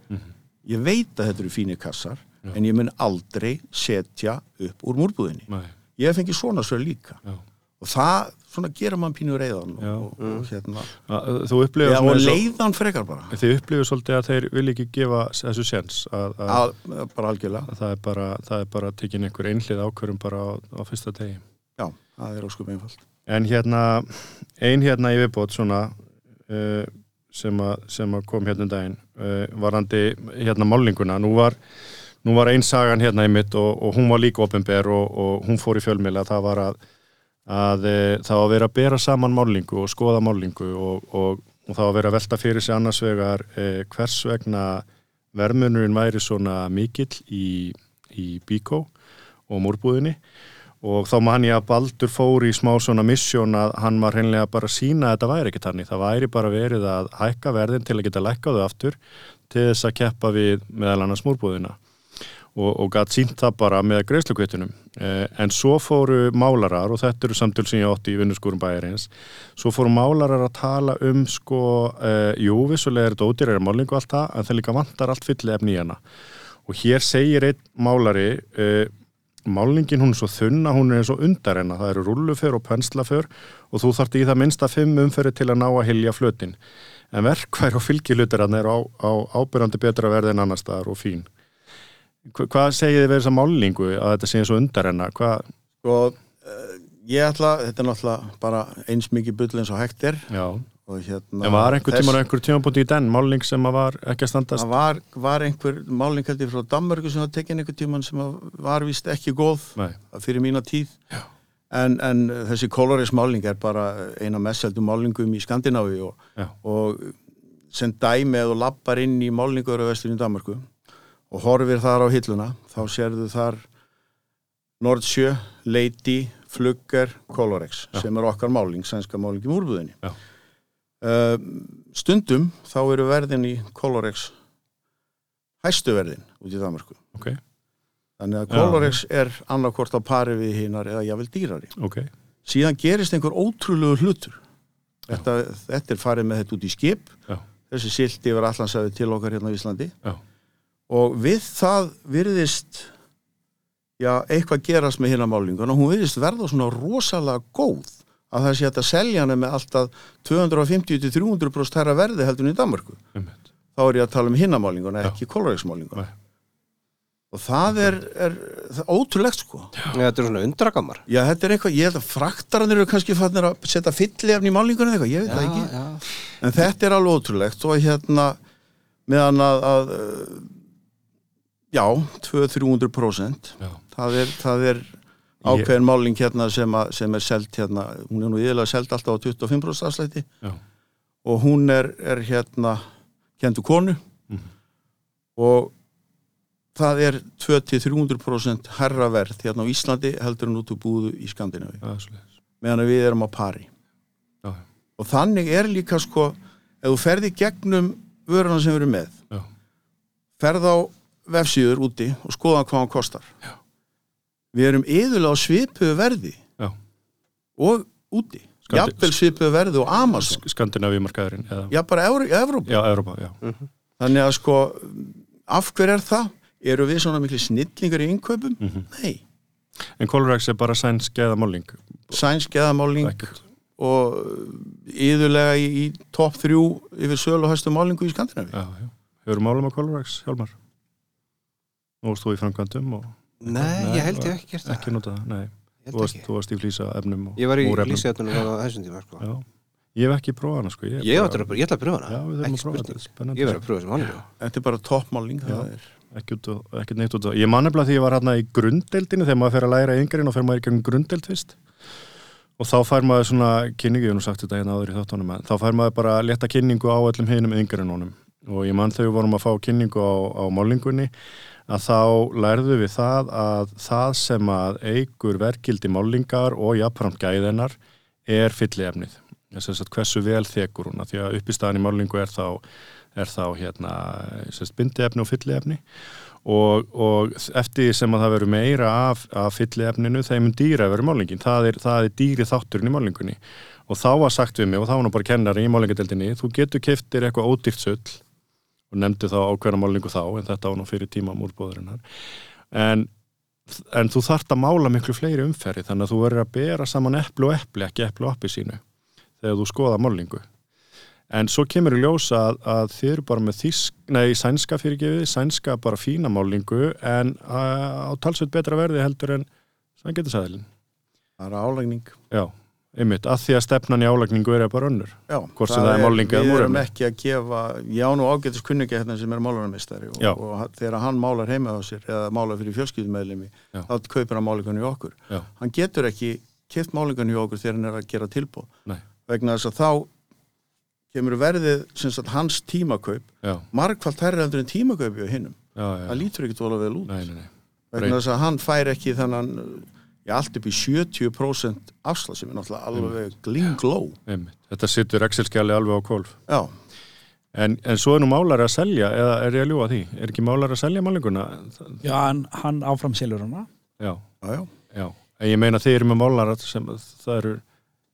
Speaker 4: ég veit að þetta eru fínir kassar
Speaker 1: Mhm. Já.
Speaker 4: en ég mun aldrei setja upp úr múrbúðinni
Speaker 1: nei,
Speaker 4: ég hef fengið svona svo líka
Speaker 1: já.
Speaker 4: og það, svona gera mann pínu reyðan
Speaker 1: Já.
Speaker 4: og, og, hérna,
Speaker 1: Að- Þú upplifir
Speaker 4: já,
Speaker 1: svona
Speaker 4: og
Speaker 1: eins og-
Speaker 4: leiðan frekar bara
Speaker 1: Þið upplifir svolítið að þeir vilja ekki gefa þessu séns að, að,
Speaker 4: að, bara algjörlega
Speaker 1: að það er bara, það er bara tekin einhver einhlið ákvörum bara á, á fyrsta degi.
Speaker 4: já, það er óskum einfalt
Speaker 1: En hérna, ein hérna í viðbót svona uh, sem, að, sem að kom hérna um daginn uh, varandi hérna málninguna. Nú var, nú var ein sagan hérna í mitt og, og hún var líka ofinber og, og hún fór í fjölmiðla. Það var að, að uh, það var að vera að bera saman málningu og skoða málningu og, og, og það var að vera að velta fyrir sig annars vegar uh, hvers vegna vermunurinn væri svona mikill í, í bíkó og mórbúðinni og þá man ég að Baldur fór í smá svona misjón að hann var hreinlega bara að sína að þetta væri ekki þannig, það væri bara verið að hækka verðin til að geta lækka þau aftur til þess að keppa við meðal annars múrbúðina og, og gætt sínt það bara með greiðslukvittunum. Eh, en svo fóru málarar, og þetta eru samtöl sem ég átti í vinnuskúrum bæjarins, svo fóru málarar að tala um sko, eh, jú, vissulega er þetta ódýrari málingu allt það, en það líka vantar allt fyllir efni í hana. Og hér segir einn málari, eh, málningin hún er svo þunna, hún er eins og undar hennar, það eru rulluför og penslaför og þú þart í það minnsta fimm umföru til að ná að hilja flötin. En verkvær og fylgilutirarn er á, á ábyrjandi betra verði en annar staðar og fín. Hva- Hvað segir þið verið þessa málingu að þetta sé eins og undar hennar? Hvað,
Speaker 4: Sko, uh, ég ætla, þetta er náttúrulega bara eins mikið bull eins og hægt er
Speaker 1: já,
Speaker 4: og hérna...
Speaker 1: en var einhver
Speaker 4: þess-
Speaker 1: tímar einhver tímapunkt í den máling sem að var ekki að
Speaker 4: Það
Speaker 1: standast?
Speaker 4: var, var einhver máling heldur frá Danmörku sem var tekin einhver tíman sem að var vist ekki góð
Speaker 1: Nei,
Speaker 4: fyrir mína tíð en, en þessi koloris máling er bara eina mestseldu málingum í Skandinavíu og,
Speaker 1: já,
Speaker 4: og sem dæmi eða lappar inn í málningur á vestinu Danmarku og horfir þar á hilluna þá sérðu þar Nordsjö, Lady, Flugger, Colorex
Speaker 1: Já.
Speaker 4: sem er okkar máling, sænska máling í múrbúðinni
Speaker 1: Já.
Speaker 4: Eh, stundum þá eru verðin í Colorex hæstu verðin út í Danmarku
Speaker 1: ok,
Speaker 4: þannig að
Speaker 1: Já.
Speaker 4: Colorex er annarkvort á pari við hinar eða jável dýrari
Speaker 1: ok,
Speaker 4: síðan gerist einhver ótrúlegu hlutur þetta, þetta er farið með þetta út í skip
Speaker 1: Já.
Speaker 4: þessi silt yfir allansæfi til okkar hérna á Íslandi
Speaker 1: Já.
Speaker 4: og við það virðist já, eitthvað gerast með hérna málingun og hún virðist verða svona rosalega góð að það sé hægt að selja hana með alltaf 250-300 brost herra verði heldur en í Danmarku
Speaker 1: umhett,
Speaker 4: þá er ég að tala um hinnamálinguna,
Speaker 1: Já.
Speaker 4: ekki koloreksmálinguna
Speaker 1: Nei.
Speaker 4: og það er, er það er ótrúlegt sko
Speaker 2: Þetta er svona undrakammar.
Speaker 4: Já, þetta er eitthvað, ég held að fraktaranir eru kannski fannir að setja fyllefni í málingunni eða eitthvað, ég veit það ekki.
Speaker 2: já.
Speaker 4: En þetta er alveg ótrúlegt og hérna meðan að, að uh, já, 200-300%
Speaker 1: já,
Speaker 4: það er, það er ákveðin máling hérna sem, að, sem er seld hérna, hún er nú yfirlega seld alltaf á 25% afslætti
Speaker 1: já,
Speaker 4: og hún er, er hérna kentu konu og það er 2-300% herra verð hérna á Íslandi heldur en út úr búðu í Skandinavi
Speaker 1: það er svolítið,
Speaker 4: meðan að við erum á pari
Speaker 1: já,
Speaker 4: og þannig er líka sko ef þú ferði gegnum vöruna sem við erum með
Speaker 1: já,
Speaker 4: ferð á vefsíður úti og skoða hvað hann kostar Já. við erum yðurlega á svipuðu verði
Speaker 1: já,
Speaker 4: og úti
Speaker 1: Skandi-
Speaker 4: jafnvel svipuðu verði og Amazon
Speaker 1: Sk- Skandinavíumarkaðurinn, eða,
Speaker 4: já bara Evr- Evrópu
Speaker 1: já, Europa, já,
Speaker 4: þannig að sko af hver er það? eru við svona miklu snillingar í innkaupum? nei,
Speaker 1: Mhm. en Colorex er bara sænsk eða máling,
Speaker 4: sænsk eða máling
Speaker 1: ekkert,
Speaker 4: og yðurlega í, í topp þrjú yfir sölu og hæstu málingu í Skandinavi
Speaker 1: já, já, hefur málum að Colorex, Hjálmar? Nú varst þú í framkvæmdum og
Speaker 2: Nei, ég held ég hef ekki gert það.
Speaker 1: ekki nota það, nei,
Speaker 2: Ah, Ég
Speaker 1: þú
Speaker 2: held
Speaker 1: varst,
Speaker 2: ekki.
Speaker 1: þú varst í flýsa efnum og
Speaker 2: Ég var í
Speaker 1: múrefnum.
Speaker 2: lýsiðatunum á þessum tíma, sko.
Speaker 1: Já, ég hef ekki prófað hana sko Ég,
Speaker 2: Ég ætla að, ég ætla að pröfa hana.
Speaker 1: Já, við þurfum
Speaker 2: Ekki
Speaker 1: að prófa
Speaker 2: spurning.
Speaker 1: þetta, spennandi
Speaker 2: Ég verður að pröfa sem hann.
Speaker 4: þetta er bara topp máling
Speaker 1: Já.
Speaker 4: það er
Speaker 1: ekki, út á- ekki neitt út á Ég man nefnilega því ég var hérna í grunddeildinu þegar maður fer að læra yngrein og fer maður í gegn grunddeild fyrst og þá fær maður svona kynningu, ég hef nú sagt þetta hérna áður í þáttunum en þá fær maður bara létta kynningu á öllum hinum yngreinunum og ég man þegar við vorum að fá kynningu á, á málingunni að þá lærðu við það að það sem að eigur verkildi málingar og jafnframt gæðinar er fylliefnið. Þess að hversu vel þekur hún, af því að uppistaðan í málingu er þá, er þá hérna, sérst, bindiefni og fylliefni og, og eftir því sem að það verður meira af, af fylliefninu, þeim mun dýra verður málingin. Það er, það er dýri þátturinn í málingunni og þá var sagt við mig og þá var nú bara kennari í málingadeldinni, þú getur keftir eitthvað ódýrt söll og nefndi þá ákveðna málingu þá en þetta var nú fyrir tíma múrbóðurinnar en, en þú þart að mála miklu fleiri umferði þannig að þú verður að bera saman epli og epli ekki epli og appi sínu þegar þú skoða málingu en svo kemur í ljós að, að þið eru bara með þísk, nei, sænska fyrirgefið sænska bara fína málingu en á, á talsveit betra verði heldur en sangetisæðilin
Speaker 4: það er álægning
Speaker 1: já, einmitt, að því að stefnan í álagningu er bara önnur
Speaker 4: Já,
Speaker 1: Hvort sem það er málning eða
Speaker 4: Við erum
Speaker 1: múrefni.
Speaker 4: ekki að gefa, ég á nú ágætis kunningja hérna sem er málararmistari og,
Speaker 1: Já.
Speaker 4: og ha- þegar hann málar heima á sér eða málar fyrir fjölskyldumeðlimi
Speaker 1: Já.
Speaker 4: þá kaupir hann málingunni í okkur.
Speaker 1: Já.
Speaker 4: Hann getur ekki keft málingunni í okkur þegar hann er að gera tilbúð.
Speaker 1: Nei.
Speaker 4: Vegna þess að þá kemur verðið sem sagt hans tímakaup
Speaker 1: já,
Speaker 4: margfalt hærri heldur en tímakaup hjá hinnum.
Speaker 1: já, já,
Speaker 4: Það lítur ekki tóla vel út.
Speaker 1: nei, nei, nei.
Speaker 4: Vegna þess að hann fær ekki þannan Já, allt upp í 70% afslag
Speaker 1: Mm.
Speaker 4: sem er náttúrulega alveg glingló.
Speaker 1: Einmitt. Þetta sittur Excel-skjali alveg á kólf.
Speaker 4: Já,
Speaker 1: En, en svo er nú málari að selja, eða er ég að ljúa því? Er ekki málari að selja málinguna? Það-
Speaker 5: Já, en hann áfram selur hana.
Speaker 1: Já,
Speaker 4: já, já.
Speaker 1: já. En ég meina þeir eru með málara sem það eru,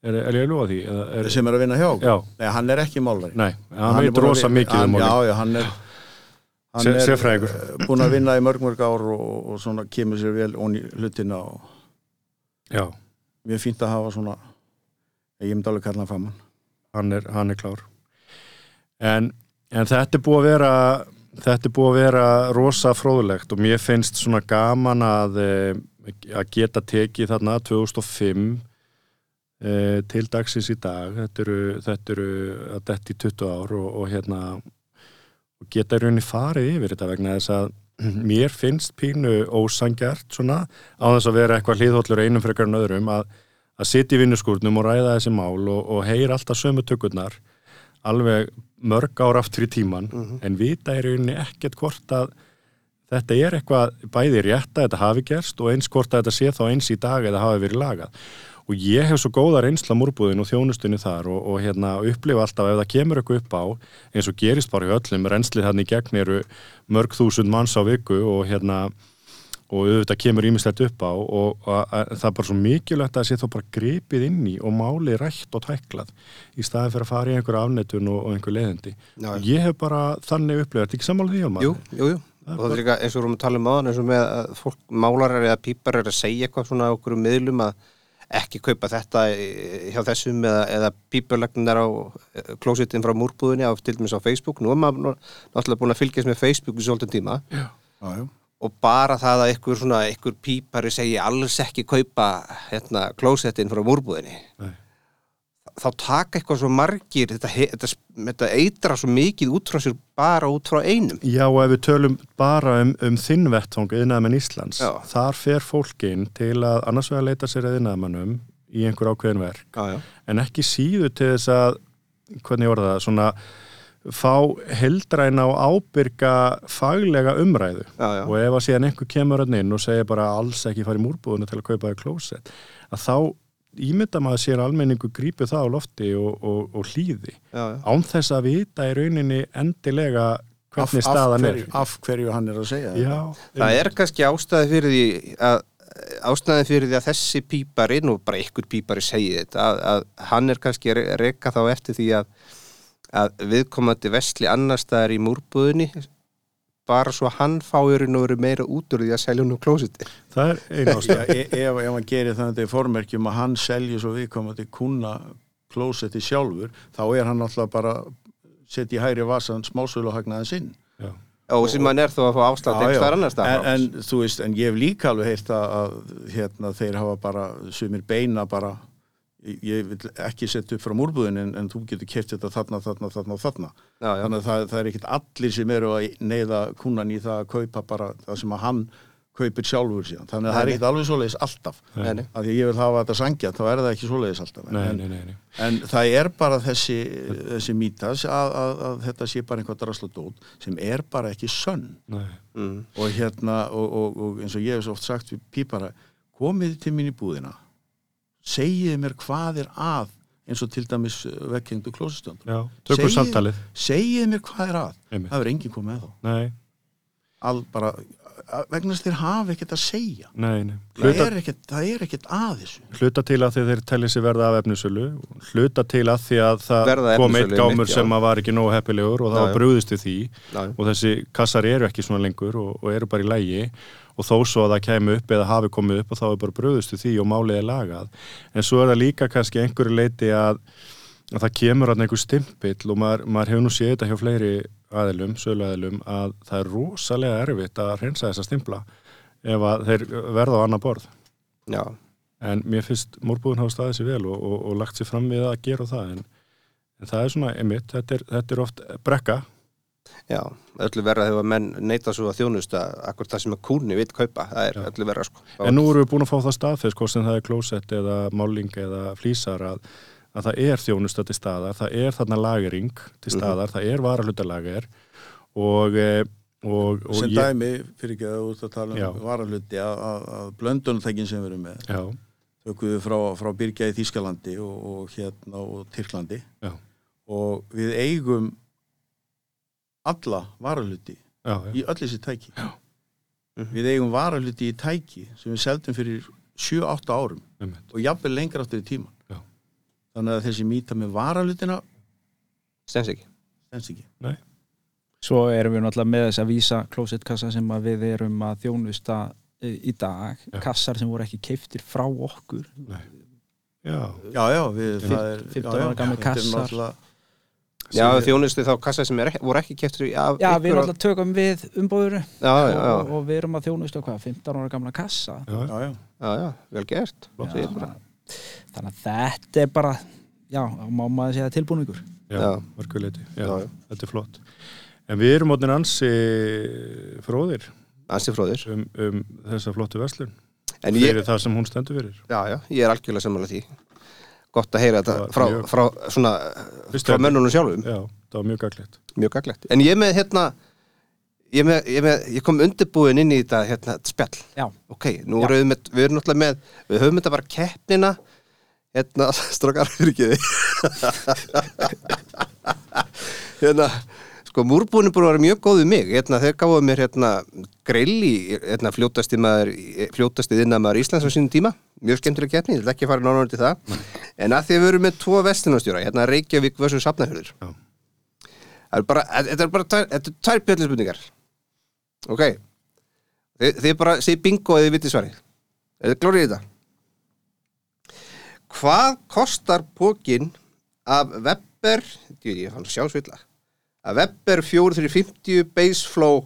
Speaker 1: er, er ég að ljúa því? Eða Er,
Speaker 4: sem er að vinna hjá okkur.
Speaker 1: já,
Speaker 4: Nei, hann er ekki málari
Speaker 1: nei, hann
Speaker 4: er
Speaker 1: veit
Speaker 4: búinn að
Speaker 1: rosa
Speaker 4: vi-
Speaker 1: mikið um
Speaker 4: hann-
Speaker 1: máling.
Speaker 4: Já, já, hann er hann
Speaker 1: Se-
Speaker 4: er,
Speaker 1: sérfræðingur.
Speaker 4: eh, búinn að vinna í mörg mörg ár og, og svona kemur sér vel onni hlutina og
Speaker 1: Já,
Speaker 4: mjög fínt að hafa svona ég myndi alveg kalla hann faman
Speaker 1: hann er, hann er klár. En, en þetta er búið að vera, þetta er búið að vera rosa fróðlegt og mér finnst svona gaman að, eh, að geta tekið þarna 2005 eh, til dagsins í dag þetta eru, þetta eru að detta í 20 ár og, og hérna og geta í rauninni farið yfir þetta vegna þess að mér finnst pínu ósangjart svona á þess að vera eitthvað hlýðhóllur einum frekar en öðrum að, að sitja í vinnuskúrnum og ræða þessi mál og, og heyra alltaf sömu tökurnar alveg mörg ára aftur í tíman
Speaker 2: Mhm.
Speaker 1: en vita í rauninni ekkert hvort að þetta er eitthvað bæði rétt að þetta hafi gerst og eins hvort að þetta sé þá eins í dag eða hafi verið lagað og ég hef svo góða reynsla múrbúðin og þjónustunni þar og, og hérna upplifa alltaf ef það kemur eitthvað upp á eins og gerist bara í öllum, reynslið þannig gegn eru mörg þúsund manns á viku og hérna og auðvitað kemur ímislegt upp á og að- að- það er bara svo mikilvægt að það sé þá bara gripið inn í og máli rætt og tæklað í staðin fyrir að fara í einhver afnettun og, og einhver leiðindi.
Speaker 2: Já, já.
Speaker 1: Ég hef bara þannig upplifað, þetta ekki sammála því á maður?
Speaker 2: Jú, jú, jú. Og það er líka eins og við erum að tala um aðan eins og með að fólk málarar eða pípar er að segja eitthvað svona á okkur miðlum að ekki kaupa þetta í- hjá þessum eða, eða pípulagnar á eh, klósitin frá múrbúðinni á, til dæmis á Facebook. Nú er maður nú- náttúrulega búin að fylgjast með Facebook í svolítið tíma
Speaker 4: já, já.
Speaker 2: og bara það að einhver svona einhver pípari segi alls ekki kaupa hérna klósettin frá múrbúðinni
Speaker 1: Nei.
Speaker 2: þá taka eitthvað svo margir þetta, he- þetta, þetta eitra svo mikið út frá sér bara út frá einum
Speaker 1: Já, og ef við tölum bara um, um þinn vettvang yðnaðamenn Íslands,
Speaker 2: Já.
Speaker 1: þar fer fólkin til að annars vegar leita sér að yðnaðamennum í einhver ákveðin verk
Speaker 2: já, já.
Speaker 1: en ekki síðu til þess að hvernig voru það, svona fá heldræna og ábyrga faglega umræðu
Speaker 2: Já, já.
Speaker 1: og ef að síðan einhver kemur hann inn og segir bara alls ekki fara í múrbúðuna til að kaupa þér klósett að þá ímynda maður sér að almenningu grípu það á lofti og, og, og hlýði
Speaker 2: Já, já.
Speaker 1: án þess að vita í rauninni endilega
Speaker 4: Af,
Speaker 1: hvernig
Speaker 4: af,
Speaker 1: staðan
Speaker 4: hverju, af hverju hann er að segja
Speaker 1: er Já,
Speaker 2: Það er kannski ástæði fyrir því að ástæði fyrir því að þessi pípari nú bara einhver pípari segi þetta að, að hann er kannski að re- reka þá eftir því að, að viðkomandi vestli annar staðar í múrbúðinni bara svo að hann fáur nú verið meira út úr því að selja hún úr klósiti
Speaker 1: það er einu
Speaker 4: Já,
Speaker 1: ástæð
Speaker 4: e- ef, ef hann gerir þannig þetta í formerkjum að hann selji svo viðkomandi kuna klósetti sjálfur, þá er hann alltaf bara setja í hægri vasan smásölu og hagnaðan sinn
Speaker 1: Já.
Speaker 2: og sem hann er þó að fá ástæði
Speaker 4: Já, já.
Speaker 2: einhver staðar annar
Speaker 4: en,
Speaker 2: staðar
Speaker 4: en þú veist, en ég hef líka alveg heyrt að, að hérna, þeir hafa bara sumir beina bara ég- ég vil ekki setja upp frá múrbúðin en, en þú getur keft þetta þarna, þarna, þarna og þarna
Speaker 2: Já, já.
Speaker 4: þannig að það, það er ekkit allir sem eru að neyða kúnan í það að kaupa bara það sem að hann kaupir sjálfur síðan þannig að það er ekkit alveg svoleiðis alltaf
Speaker 2: Nei, nei.
Speaker 4: að því að ég vil hafa þetta sangjað, þá er það ekki svoleiðis alltaf
Speaker 1: Nei,
Speaker 4: en,
Speaker 1: nei, nei, nei.
Speaker 4: en það er bara þessi, þessi mítas að, að, að þetta sé bara einhvað drasladót sem er bara ekki sönn
Speaker 1: nei.
Speaker 2: mm.
Speaker 4: og hérna og, og, og eins og ég hef svo oft sagt við pípara komið til mín í búðina segið mér hvað er að eins og til dæmis vekkengdu klósistöndur
Speaker 1: Já, tökum
Speaker 4: Segið-
Speaker 1: samtalið
Speaker 4: segið mér hvað er að
Speaker 1: Einmitt.
Speaker 4: það er enginn komið með þá
Speaker 1: Nei,
Speaker 4: All bara, að- vegna þess þeir hafa ekkert að segja
Speaker 1: nei, nei
Speaker 4: það
Speaker 1: Hluta,
Speaker 4: er, ekkert, það er ekkert að þessu
Speaker 1: hluta til að því þeir tellið sér verða af efnisölu hluta til að því að það
Speaker 2: Verða
Speaker 1: kom
Speaker 2: efnisölu,
Speaker 1: eitt gámur
Speaker 2: einmitt, já.
Speaker 1: sem að var ekki nógu heppilegur og það
Speaker 2: Já,
Speaker 1: var
Speaker 2: já.
Speaker 1: brúðist við því
Speaker 2: Já, já.
Speaker 1: og þessi kassar eru ekki svona lengur og, og eru bara í lægi og þó svo að það kemur upp eða hafi komið upp og þá er bara brúðist við því og málið er lagað en svo er það líka kannski einhverju leiti að, að það kemur hann einhver stimpill og maður, maður hefur nú séð þetta hjá fleiri aðilum, sölu aðilum að það er rosalega erfitt að hreinsa þessa stimpla ef að þeir verða á annað borð
Speaker 2: já,
Speaker 1: en mér finnst mórbúðin hafa staðið sér vel og, og, og lagt sér fram við að gera það en, en það er svona emitt, þetta er, þetta er oft brekka
Speaker 2: já öllu verða þegar menn neyta svo að þjónusta akkur það sem að kúni vil kaupa það er öllu verða sko
Speaker 1: en nú erum við búin að fá það staðfest hvort sem það er klósett eða máling eða flýsar að, að það er þjónusta til staðar, það er þarna lagering
Speaker 2: Mhm.
Speaker 1: til staðar, það er varahlutalager og, eh, og, og
Speaker 4: sem
Speaker 1: ég-
Speaker 4: dæmi, fyrir ekki að þú ert að tala
Speaker 1: Já.
Speaker 4: um varahluti að, að, að blöndunatækin sem við erum með
Speaker 1: Já,
Speaker 4: tökum við frá, frá Byrgja í Þýskalandi og, og hérna og Tyrklandi
Speaker 1: já,
Speaker 4: og við eigum alla varahluti
Speaker 1: já, já,
Speaker 4: í öll þessi tæki Mhm.
Speaker 1: Já.
Speaker 4: við eigum varahluti í tæki sem við seldum fyrir 7-8 árum
Speaker 1: einmitt.
Speaker 4: og jafnvel lengra áttur í tíman
Speaker 1: Já.
Speaker 4: þannig að þessi mýta með varahlutina
Speaker 2: Stens ekki.
Speaker 4: stendst ekki
Speaker 5: Svo erum við náttúrulega með þess að vísa klósettkassa sem að við erum að þjónusta eh, í dag,
Speaker 1: Já.
Speaker 5: kassar sem voru ekki keiftir frá okkur
Speaker 1: já,
Speaker 4: já, já, við, það er
Speaker 5: 15
Speaker 4: já, já,
Speaker 5: ára gamlir
Speaker 4: þetta er
Speaker 5: kassar.
Speaker 4: náttúrulega-
Speaker 2: Já,
Speaker 1: Sem-
Speaker 2: þjónustu þá kassa sem er, ekki- voru ekki keftur af
Speaker 5: Já, við
Speaker 2: ykkur á-
Speaker 5: náttúrulega tökum við umbóður og,
Speaker 2: Já, já, já,
Speaker 5: og við erum að þjónusta hvað, 15 ára gamla kassa
Speaker 1: já,
Speaker 4: já, já.
Speaker 2: já, já, vel gert.
Speaker 1: Flott.
Speaker 2: Segir bara.
Speaker 5: þannig að þetta er bara já, má maður segja tilbúningur
Speaker 1: já,
Speaker 2: Já.
Speaker 1: já. mörguleiti já,
Speaker 2: Já, já.
Speaker 1: þetta er flott en við erum áttin ansi fróðir
Speaker 2: Ansi fróðir.
Speaker 1: um, um þessa flottu verslun
Speaker 2: En ég,
Speaker 1: fyrir það sem hún stendur fyrir
Speaker 2: já, já, ég er algjörlega sammála því. Gott að heyra þetta
Speaker 1: Já,
Speaker 2: frá,
Speaker 1: mjög.
Speaker 2: frá, svona,
Speaker 1: Fyrst
Speaker 2: frá
Speaker 1: er-
Speaker 2: mönnunum sjálfum.
Speaker 1: já, það var mjög gaglegt
Speaker 2: Mjög gaglegt. En ég með, hérna, ég, með, ég, með, ég kom undirbúin inn í þetta, hérna, þetta spjall.
Speaker 5: Já.
Speaker 2: Ok, nú
Speaker 5: Já.
Speaker 2: erum við með, við erum náttúrulega með, við höfum þetta bara keppnina, hérna, strókar fyrir ekki þið. hérna, sko, múrbúin er búin að vera mjög góð við mig. Hérna, þeir gáðu mér, hérna, grill í, hérna, fljótasti maður, fljótastið innan maður Íslands á sínum tíma. Mjög skemmtileg keppni, ég vil ekki fara nánar til það. en að því að við erum með tvo vestinastjóra, hérna, Reykjavík vs. Safnahjörður.
Speaker 1: já,
Speaker 2: Það er bara, þetta er bara tvær, þetta er tvær bjöllinspurningar ok þið, þið bara segir bingo eða þið vitið svarið eða þið glórið í þetta hvað kostar pókin af Webber ég veit, ég fann að sjá svilla af Webber 4350 Baseflow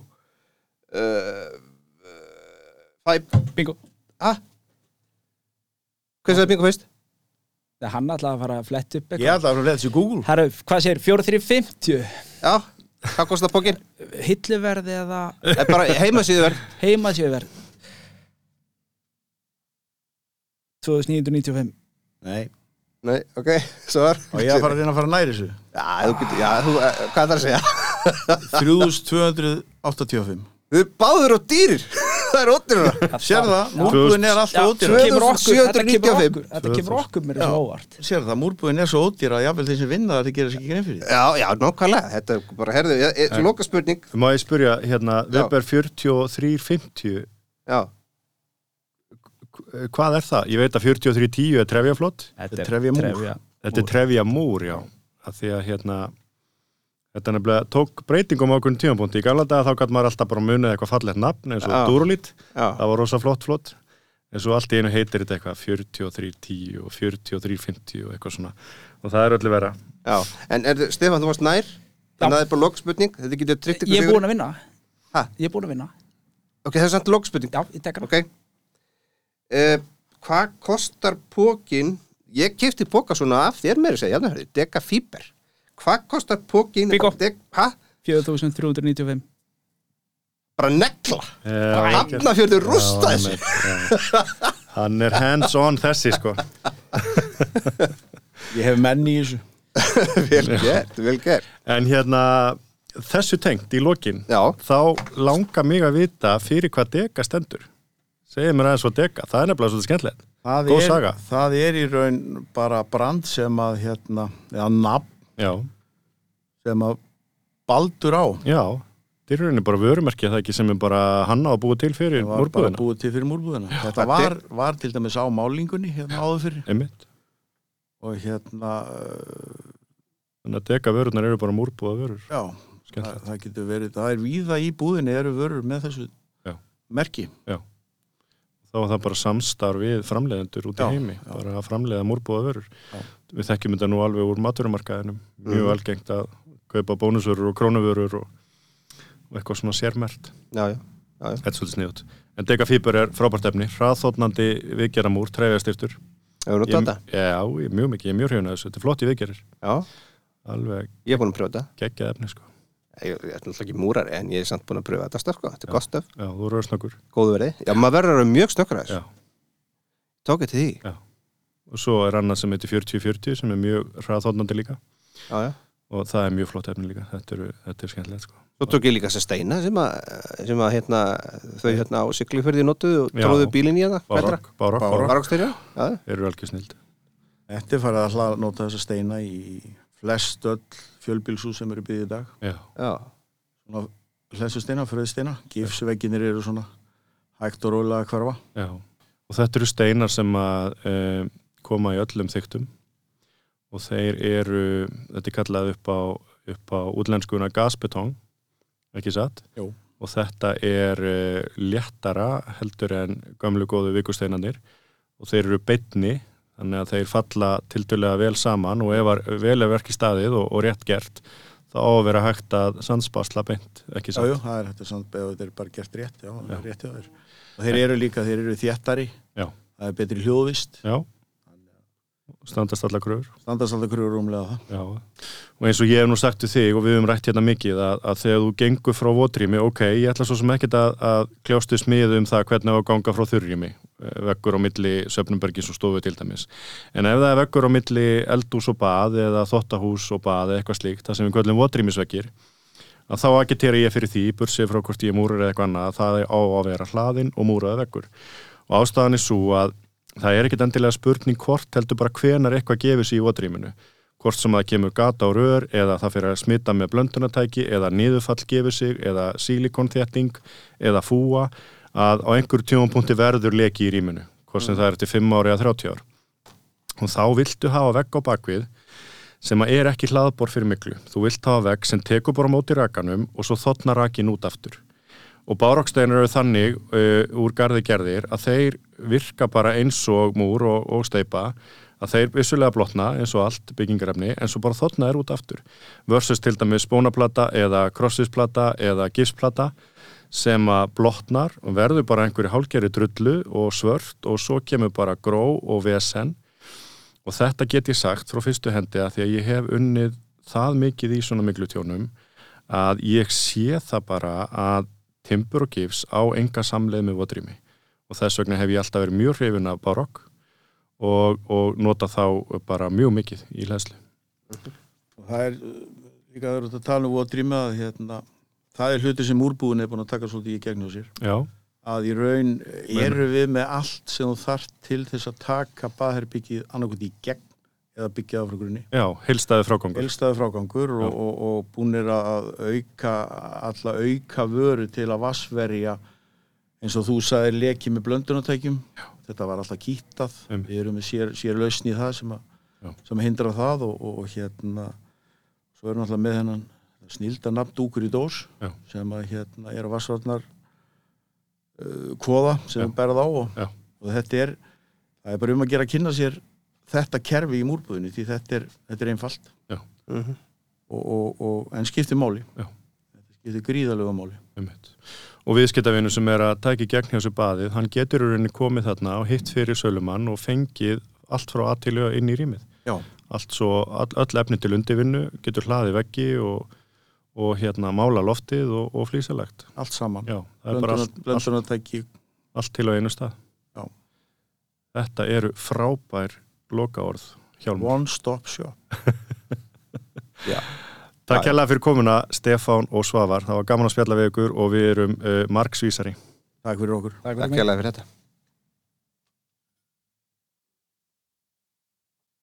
Speaker 2: uh, uh,
Speaker 5: Bingo
Speaker 2: hæ? hvað er það bingo fyrst?
Speaker 5: Það hann ætlaði að fara að fletta upp
Speaker 4: ég
Speaker 5: eitthvað
Speaker 4: ætla að vera þessi Google
Speaker 5: Herru, hvað segir, 4350
Speaker 2: já, hvað kostar pókin?
Speaker 5: hilluverð eða
Speaker 2: það er bara heimasíðuverð
Speaker 5: heimasjöverð 2995
Speaker 4: Nei.
Speaker 2: nei, ok, svar
Speaker 4: og ég að fara að reyna að fara næri þessu
Speaker 2: Já, þú getur, já, þú, eh, hvað þarf að segja?
Speaker 4: 3285
Speaker 2: Við erum báður á dýrir Það er ótrúna
Speaker 4: Sér það,
Speaker 5: Já.
Speaker 4: múrbúðin er alltaf
Speaker 5: Já,
Speaker 4: ódýra
Speaker 2: tvö-
Speaker 5: kemur okkur, þetta kemur
Speaker 2: 795.
Speaker 5: okkur þetta kemur okkur mér
Speaker 4: Já.
Speaker 5: svo óvart
Speaker 4: Sér það, múrbúðin er svo ódýra að jafnvel þeir sem vinna það þeir gera sér ekki grein fyrir því.
Speaker 2: Já, já, nákvæmlega, þetta er bara, herðu, ég, ég, loka spurning
Speaker 1: má ég spurja hérna,
Speaker 2: Já.
Speaker 1: Weber 4350
Speaker 2: Já,
Speaker 1: Eh, hvað er það? Ég veit að 4310 er trefjaflott
Speaker 5: Þetta er
Speaker 4: Trefja múr.
Speaker 1: Þetta er trefja múr, já. Að því að hérna, þetta nefnilega tók breytingum á okkur tímapunkti. Í gamla daga þá gæti maður alltaf bara munið eitthvað fallegt nafn eins og
Speaker 2: Já.
Speaker 1: Durolít.
Speaker 2: já,
Speaker 1: Það var rosa flott flott. En svo allt í einu heitir þetta eitthvað 4310 og 4350 og eitthvað svona. Og það er öllu vera.
Speaker 2: já En er, Stefán, þú varst nær Þannig að það er bara loka spurning, þetta getur tryggt ykkur
Speaker 5: Ég er
Speaker 2: sigur.
Speaker 5: búin að vinna
Speaker 2: Ha?
Speaker 5: Ég er búin að vinna
Speaker 2: Ok, það er samt loka spurning
Speaker 5: Já, ég tekur það
Speaker 2: Ok uh, Hvað kostar pókin Ég kefti póka svona af þér meiri segja, já, herðu, deka fíber Hvað kostar pókin
Speaker 5: Bingo.
Speaker 2: Dek, ha?
Speaker 5: 4395
Speaker 2: Bara negla
Speaker 1: Eh, Hafnafjörður
Speaker 2: Hafnarfjörður rústa þessu
Speaker 1: Hann er hands on þessi sko.
Speaker 4: Ég hef menn í þessu
Speaker 2: Vel gert, vel gert
Speaker 1: En hérna, þessu tengt í lokin,
Speaker 2: Já.
Speaker 1: þá langar mig að vita fyrir hvað dega stendur. Segðu mér aðeins svo dega. Það er nefnilega svolítið skemmtilegt.
Speaker 4: það
Speaker 1: Góð
Speaker 4: er,
Speaker 1: saga.
Speaker 4: Það er í raun bara brand sem að hérna, eða nafn
Speaker 1: Já.
Speaker 4: sem að baldur á
Speaker 1: Já, þetta er í rauninni bara vörumerki er það ekki sem er bara hanna að búa til fyrir
Speaker 4: Það var bara
Speaker 1: múrbúðina.
Speaker 4: búið til fyrir múrbúðina Þetta
Speaker 2: Það
Speaker 4: var, var til dæmis á málingunni hérna áður fyrir
Speaker 1: Einmitt.
Speaker 4: og hérna eh,
Speaker 1: Þannig að deka vörunar eru bara múrbúða vörur.
Speaker 4: já, það,
Speaker 1: Skemmtilegt.
Speaker 4: það getur verið það er víða í búðinni eru vörur með þessu
Speaker 1: Já.
Speaker 4: merki
Speaker 1: Þá er það bara samstarf við framleiðendur út í
Speaker 4: Já,
Speaker 1: heimi,
Speaker 4: já.
Speaker 1: bara að framleiða múrbúða vörur.
Speaker 4: Já. Mm.
Speaker 1: Við þekkjum þetta nú alveg úr maturumarkaðinum, mjög
Speaker 2: Mhm.
Speaker 1: algengt að kaupa bónusvörur og krónuvörur og, og eitthvað svona sérmert.
Speaker 2: Já, já
Speaker 1: Þetta er svolítið sniðut. En deka fýbur er frábært efni, hraðþótnandi viðgeramúr, trefjastiftur.
Speaker 2: Hefur nú
Speaker 1: Ég-
Speaker 2: tóta?
Speaker 1: Já, ég, mjög mikið, ég er mjög hrjónað þessu. Þetta er flott í viðgerir,
Speaker 2: Já,
Speaker 1: alveg
Speaker 2: ég er búin að pröfa þetta.
Speaker 1: geggjað efni sko.
Speaker 2: Ég, ég er náttúrulega ekki múrari en ég er samt búin að pröfa þetta stöf, sko. Þetta er gott stöf,
Speaker 1: Já, þú eru snakkur.
Speaker 2: góðu verði. Já, maður verður að vera mjög snökkur
Speaker 1: Já.
Speaker 2: að þessu. Tók ég til því.
Speaker 1: og svo er annað sem heitir 4040 sem er mjög hraðhóðnandi líka
Speaker 2: Já, já.
Speaker 1: og það er mjög flott efni líka, þetta er, þetta er skemmtilegt sko.
Speaker 2: Svo tók ég líka þess að steina sem að, sem að hérna, þau hérna á siglufyrði notuðu og
Speaker 1: Já.
Speaker 2: tróðu bílinn í hérna. Betra.
Speaker 1: Bárák, bárák, bárák,
Speaker 2: Barókstyrja. Já, já.
Speaker 1: eru algjör snild
Speaker 4: Þetta er farið að hlaða nota þessa steina í flest öll fjölbílsú sem eru byggðið í dag
Speaker 1: Já,
Speaker 2: já.
Speaker 4: hlæssu steina, fröðu steina, gifsvegginir eru svona hægt og rólega að hverfa
Speaker 1: Já, og þetta eru steinar sem að um, koma í öllum þyktum og þeir eru, þetta er kallað upp á, upp á útlenskuna gasbetong, ekki satt?
Speaker 4: Jú.
Speaker 1: Og þetta er uh, léttara heldur en gamlu góðu vikusteinanir og þeir eru beitni, þannig að þeir falla tildulega vel saman og ef að vel er verki staðið og, og rétt gert þá á að vera hægt að sandspasla beint, ekki
Speaker 4: Jájú,
Speaker 1: satt?
Speaker 4: það er þetta samt beðið, þetta er bara gert rétt, já,
Speaker 1: Já.
Speaker 4: rétt hjá þér. Og þeir eru líka, þeir eru þéttari,
Speaker 1: Já.
Speaker 4: það er betri hljóðvist,
Speaker 1: Já, standast alla kröfur.
Speaker 4: standast alltaf hverju rúmlega það.
Speaker 1: Já, og eins og ég hef nú sagt við þig og við höfum rætt hérna mikið að, að þegar þú gengur frá votrými, ok, ég ætla svo sem ekkert að, að kljástu smiðu um það hvernig á að ganga frá þurrými, vekkur á milli Söfnumbergis og stofu til dæmis. En ef það er vekkur á milli eldús og bað eða þottahús og bað eða eitthvað slíkt, það sem við köllum votrýmisvekkir, að þá agitera ég fyrir því, bursið frá hvort ég múrur eða eitthvað annað, að það á að vera hlaðin og múraða vekkur. Og ástæðan er svo að það er ekkit endilega spurning hvort heldur bara hvenar eitthvað gefur sér í votrýminu. Hvort sem það kemur gata á rör eða það fyrir að smita með blöndunatæki eða niðurfall gefur sig eða sílikonþétting eða fúa að á einhverjum tímapunkti verður leki í rýminu, hvort sem það er til 5 ári eða 30 ár. Og þá viltu hafa vegg á bakvið sem að er ekki hlaðbor fyrir miklu. Þú vilt hafa vegg sem tekur bara á móti rakanum og svo þotna rakin út aftur. Og bároksteginar eru þannig uh, úr garði gerðir að þeir virka bara eins og múr og, og steipa að þeir vissulega blotna eins og allt byggingarefni en svo bara þotna er út aftur versus til dæmis spónaplata eða krossisplata eða gipsplata sem að blotnar og verður bara einhverju hálgeri drullu og svört og svo kemur bara gró og vesen og þetta get ég sagt frá fyrstu hendi að því að ég hef unnið það mikið í svona miklu tjónum að ég sé það bara að timbur og gifs á enga samleið með votrými og þess vegna hef ég alltaf verið mjög hrifin af barokk og, og nota þá bara mjög mikið í hlæslu.
Speaker 4: Og það er uh, líka það eru þetta að tala um og að drýma að hérna, það er hluti sem úrbúin er búin að taka svolítið í gegn á sér.
Speaker 1: Já,
Speaker 4: Að í raun eru við með allt sem þú þarft til þess að taka baðherbyggið annarkot í gegn eða byggja það frá grunni.
Speaker 1: já, heilstæði frágangur.
Speaker 4: Elstaði frágangur og,
Speaker 1: Já.
Speaker 4: og, og búnir að auka alla auka vöru til að vassverja eins og þú sagði leki með blöndunatækjum þetta var alltaf kýttað
Speaker 1: Einmitt.
Speaker 4: við erum með sér, sér lausn í það sem,
Speaker 1: Já.
Speaker 4: að, sem hindra það og, og, og hérna svo erum alltaf með hennan snilda nafndúkur í dós
Speaker 1: Já.
Speaker 4: sem að hérna er að vassvarnar uh, kóða sem
Speaker 1: Já.
Speaker 4: er berð á og,
Speaker 1: Já.
Speaker 4: og þetta er það er bara um að gera að kynna sér þetta kerfi í múrbúðinu því þetta er, þetta er einfalt
Speaker 2: Mhm.
Speaker 4: og, og, og, en skiptir máli
Speaker 1: Já.
Speaker 4: skiptir gríðalega máli
Speaker 1: Einmitt. Og viðskiptavinu sem er að taka í gegn hjá þessu baðið, hann getur í rauninni komið þarna og hitt fyrir sölumann og fengið allt frá aðtilja inn í rýmið.
Speaker 4: Já.
Speaker 1: Allt svo, all, öll efni til undirvinnu, getur hlaðið veggi og, og hérna mála loftið og, og flýsalegt.
Speaker 4: allt saman
Speaker 1: Já, það er bara allt, allt,
Speaker 4: blöndunartæki
Speaker 1: allt til á einu stað.
Speaker 4: Já.
Speaker 1: Þetta eru frábær lokaorð hjálmur.
Speaker 4: one stop shop
Speaker 1: Takk hérlega fyrir komuna Stefán og Svavar. Það var gaman að spjalla við ykkur og við erum uh, marksvísari.
Speaker 4: takk fyrir okkur
Speaker 5: Takk fyrir
Speaker 2: Takk
Speaker 5: mig.
Speaker 2: hérlega fyrir þetta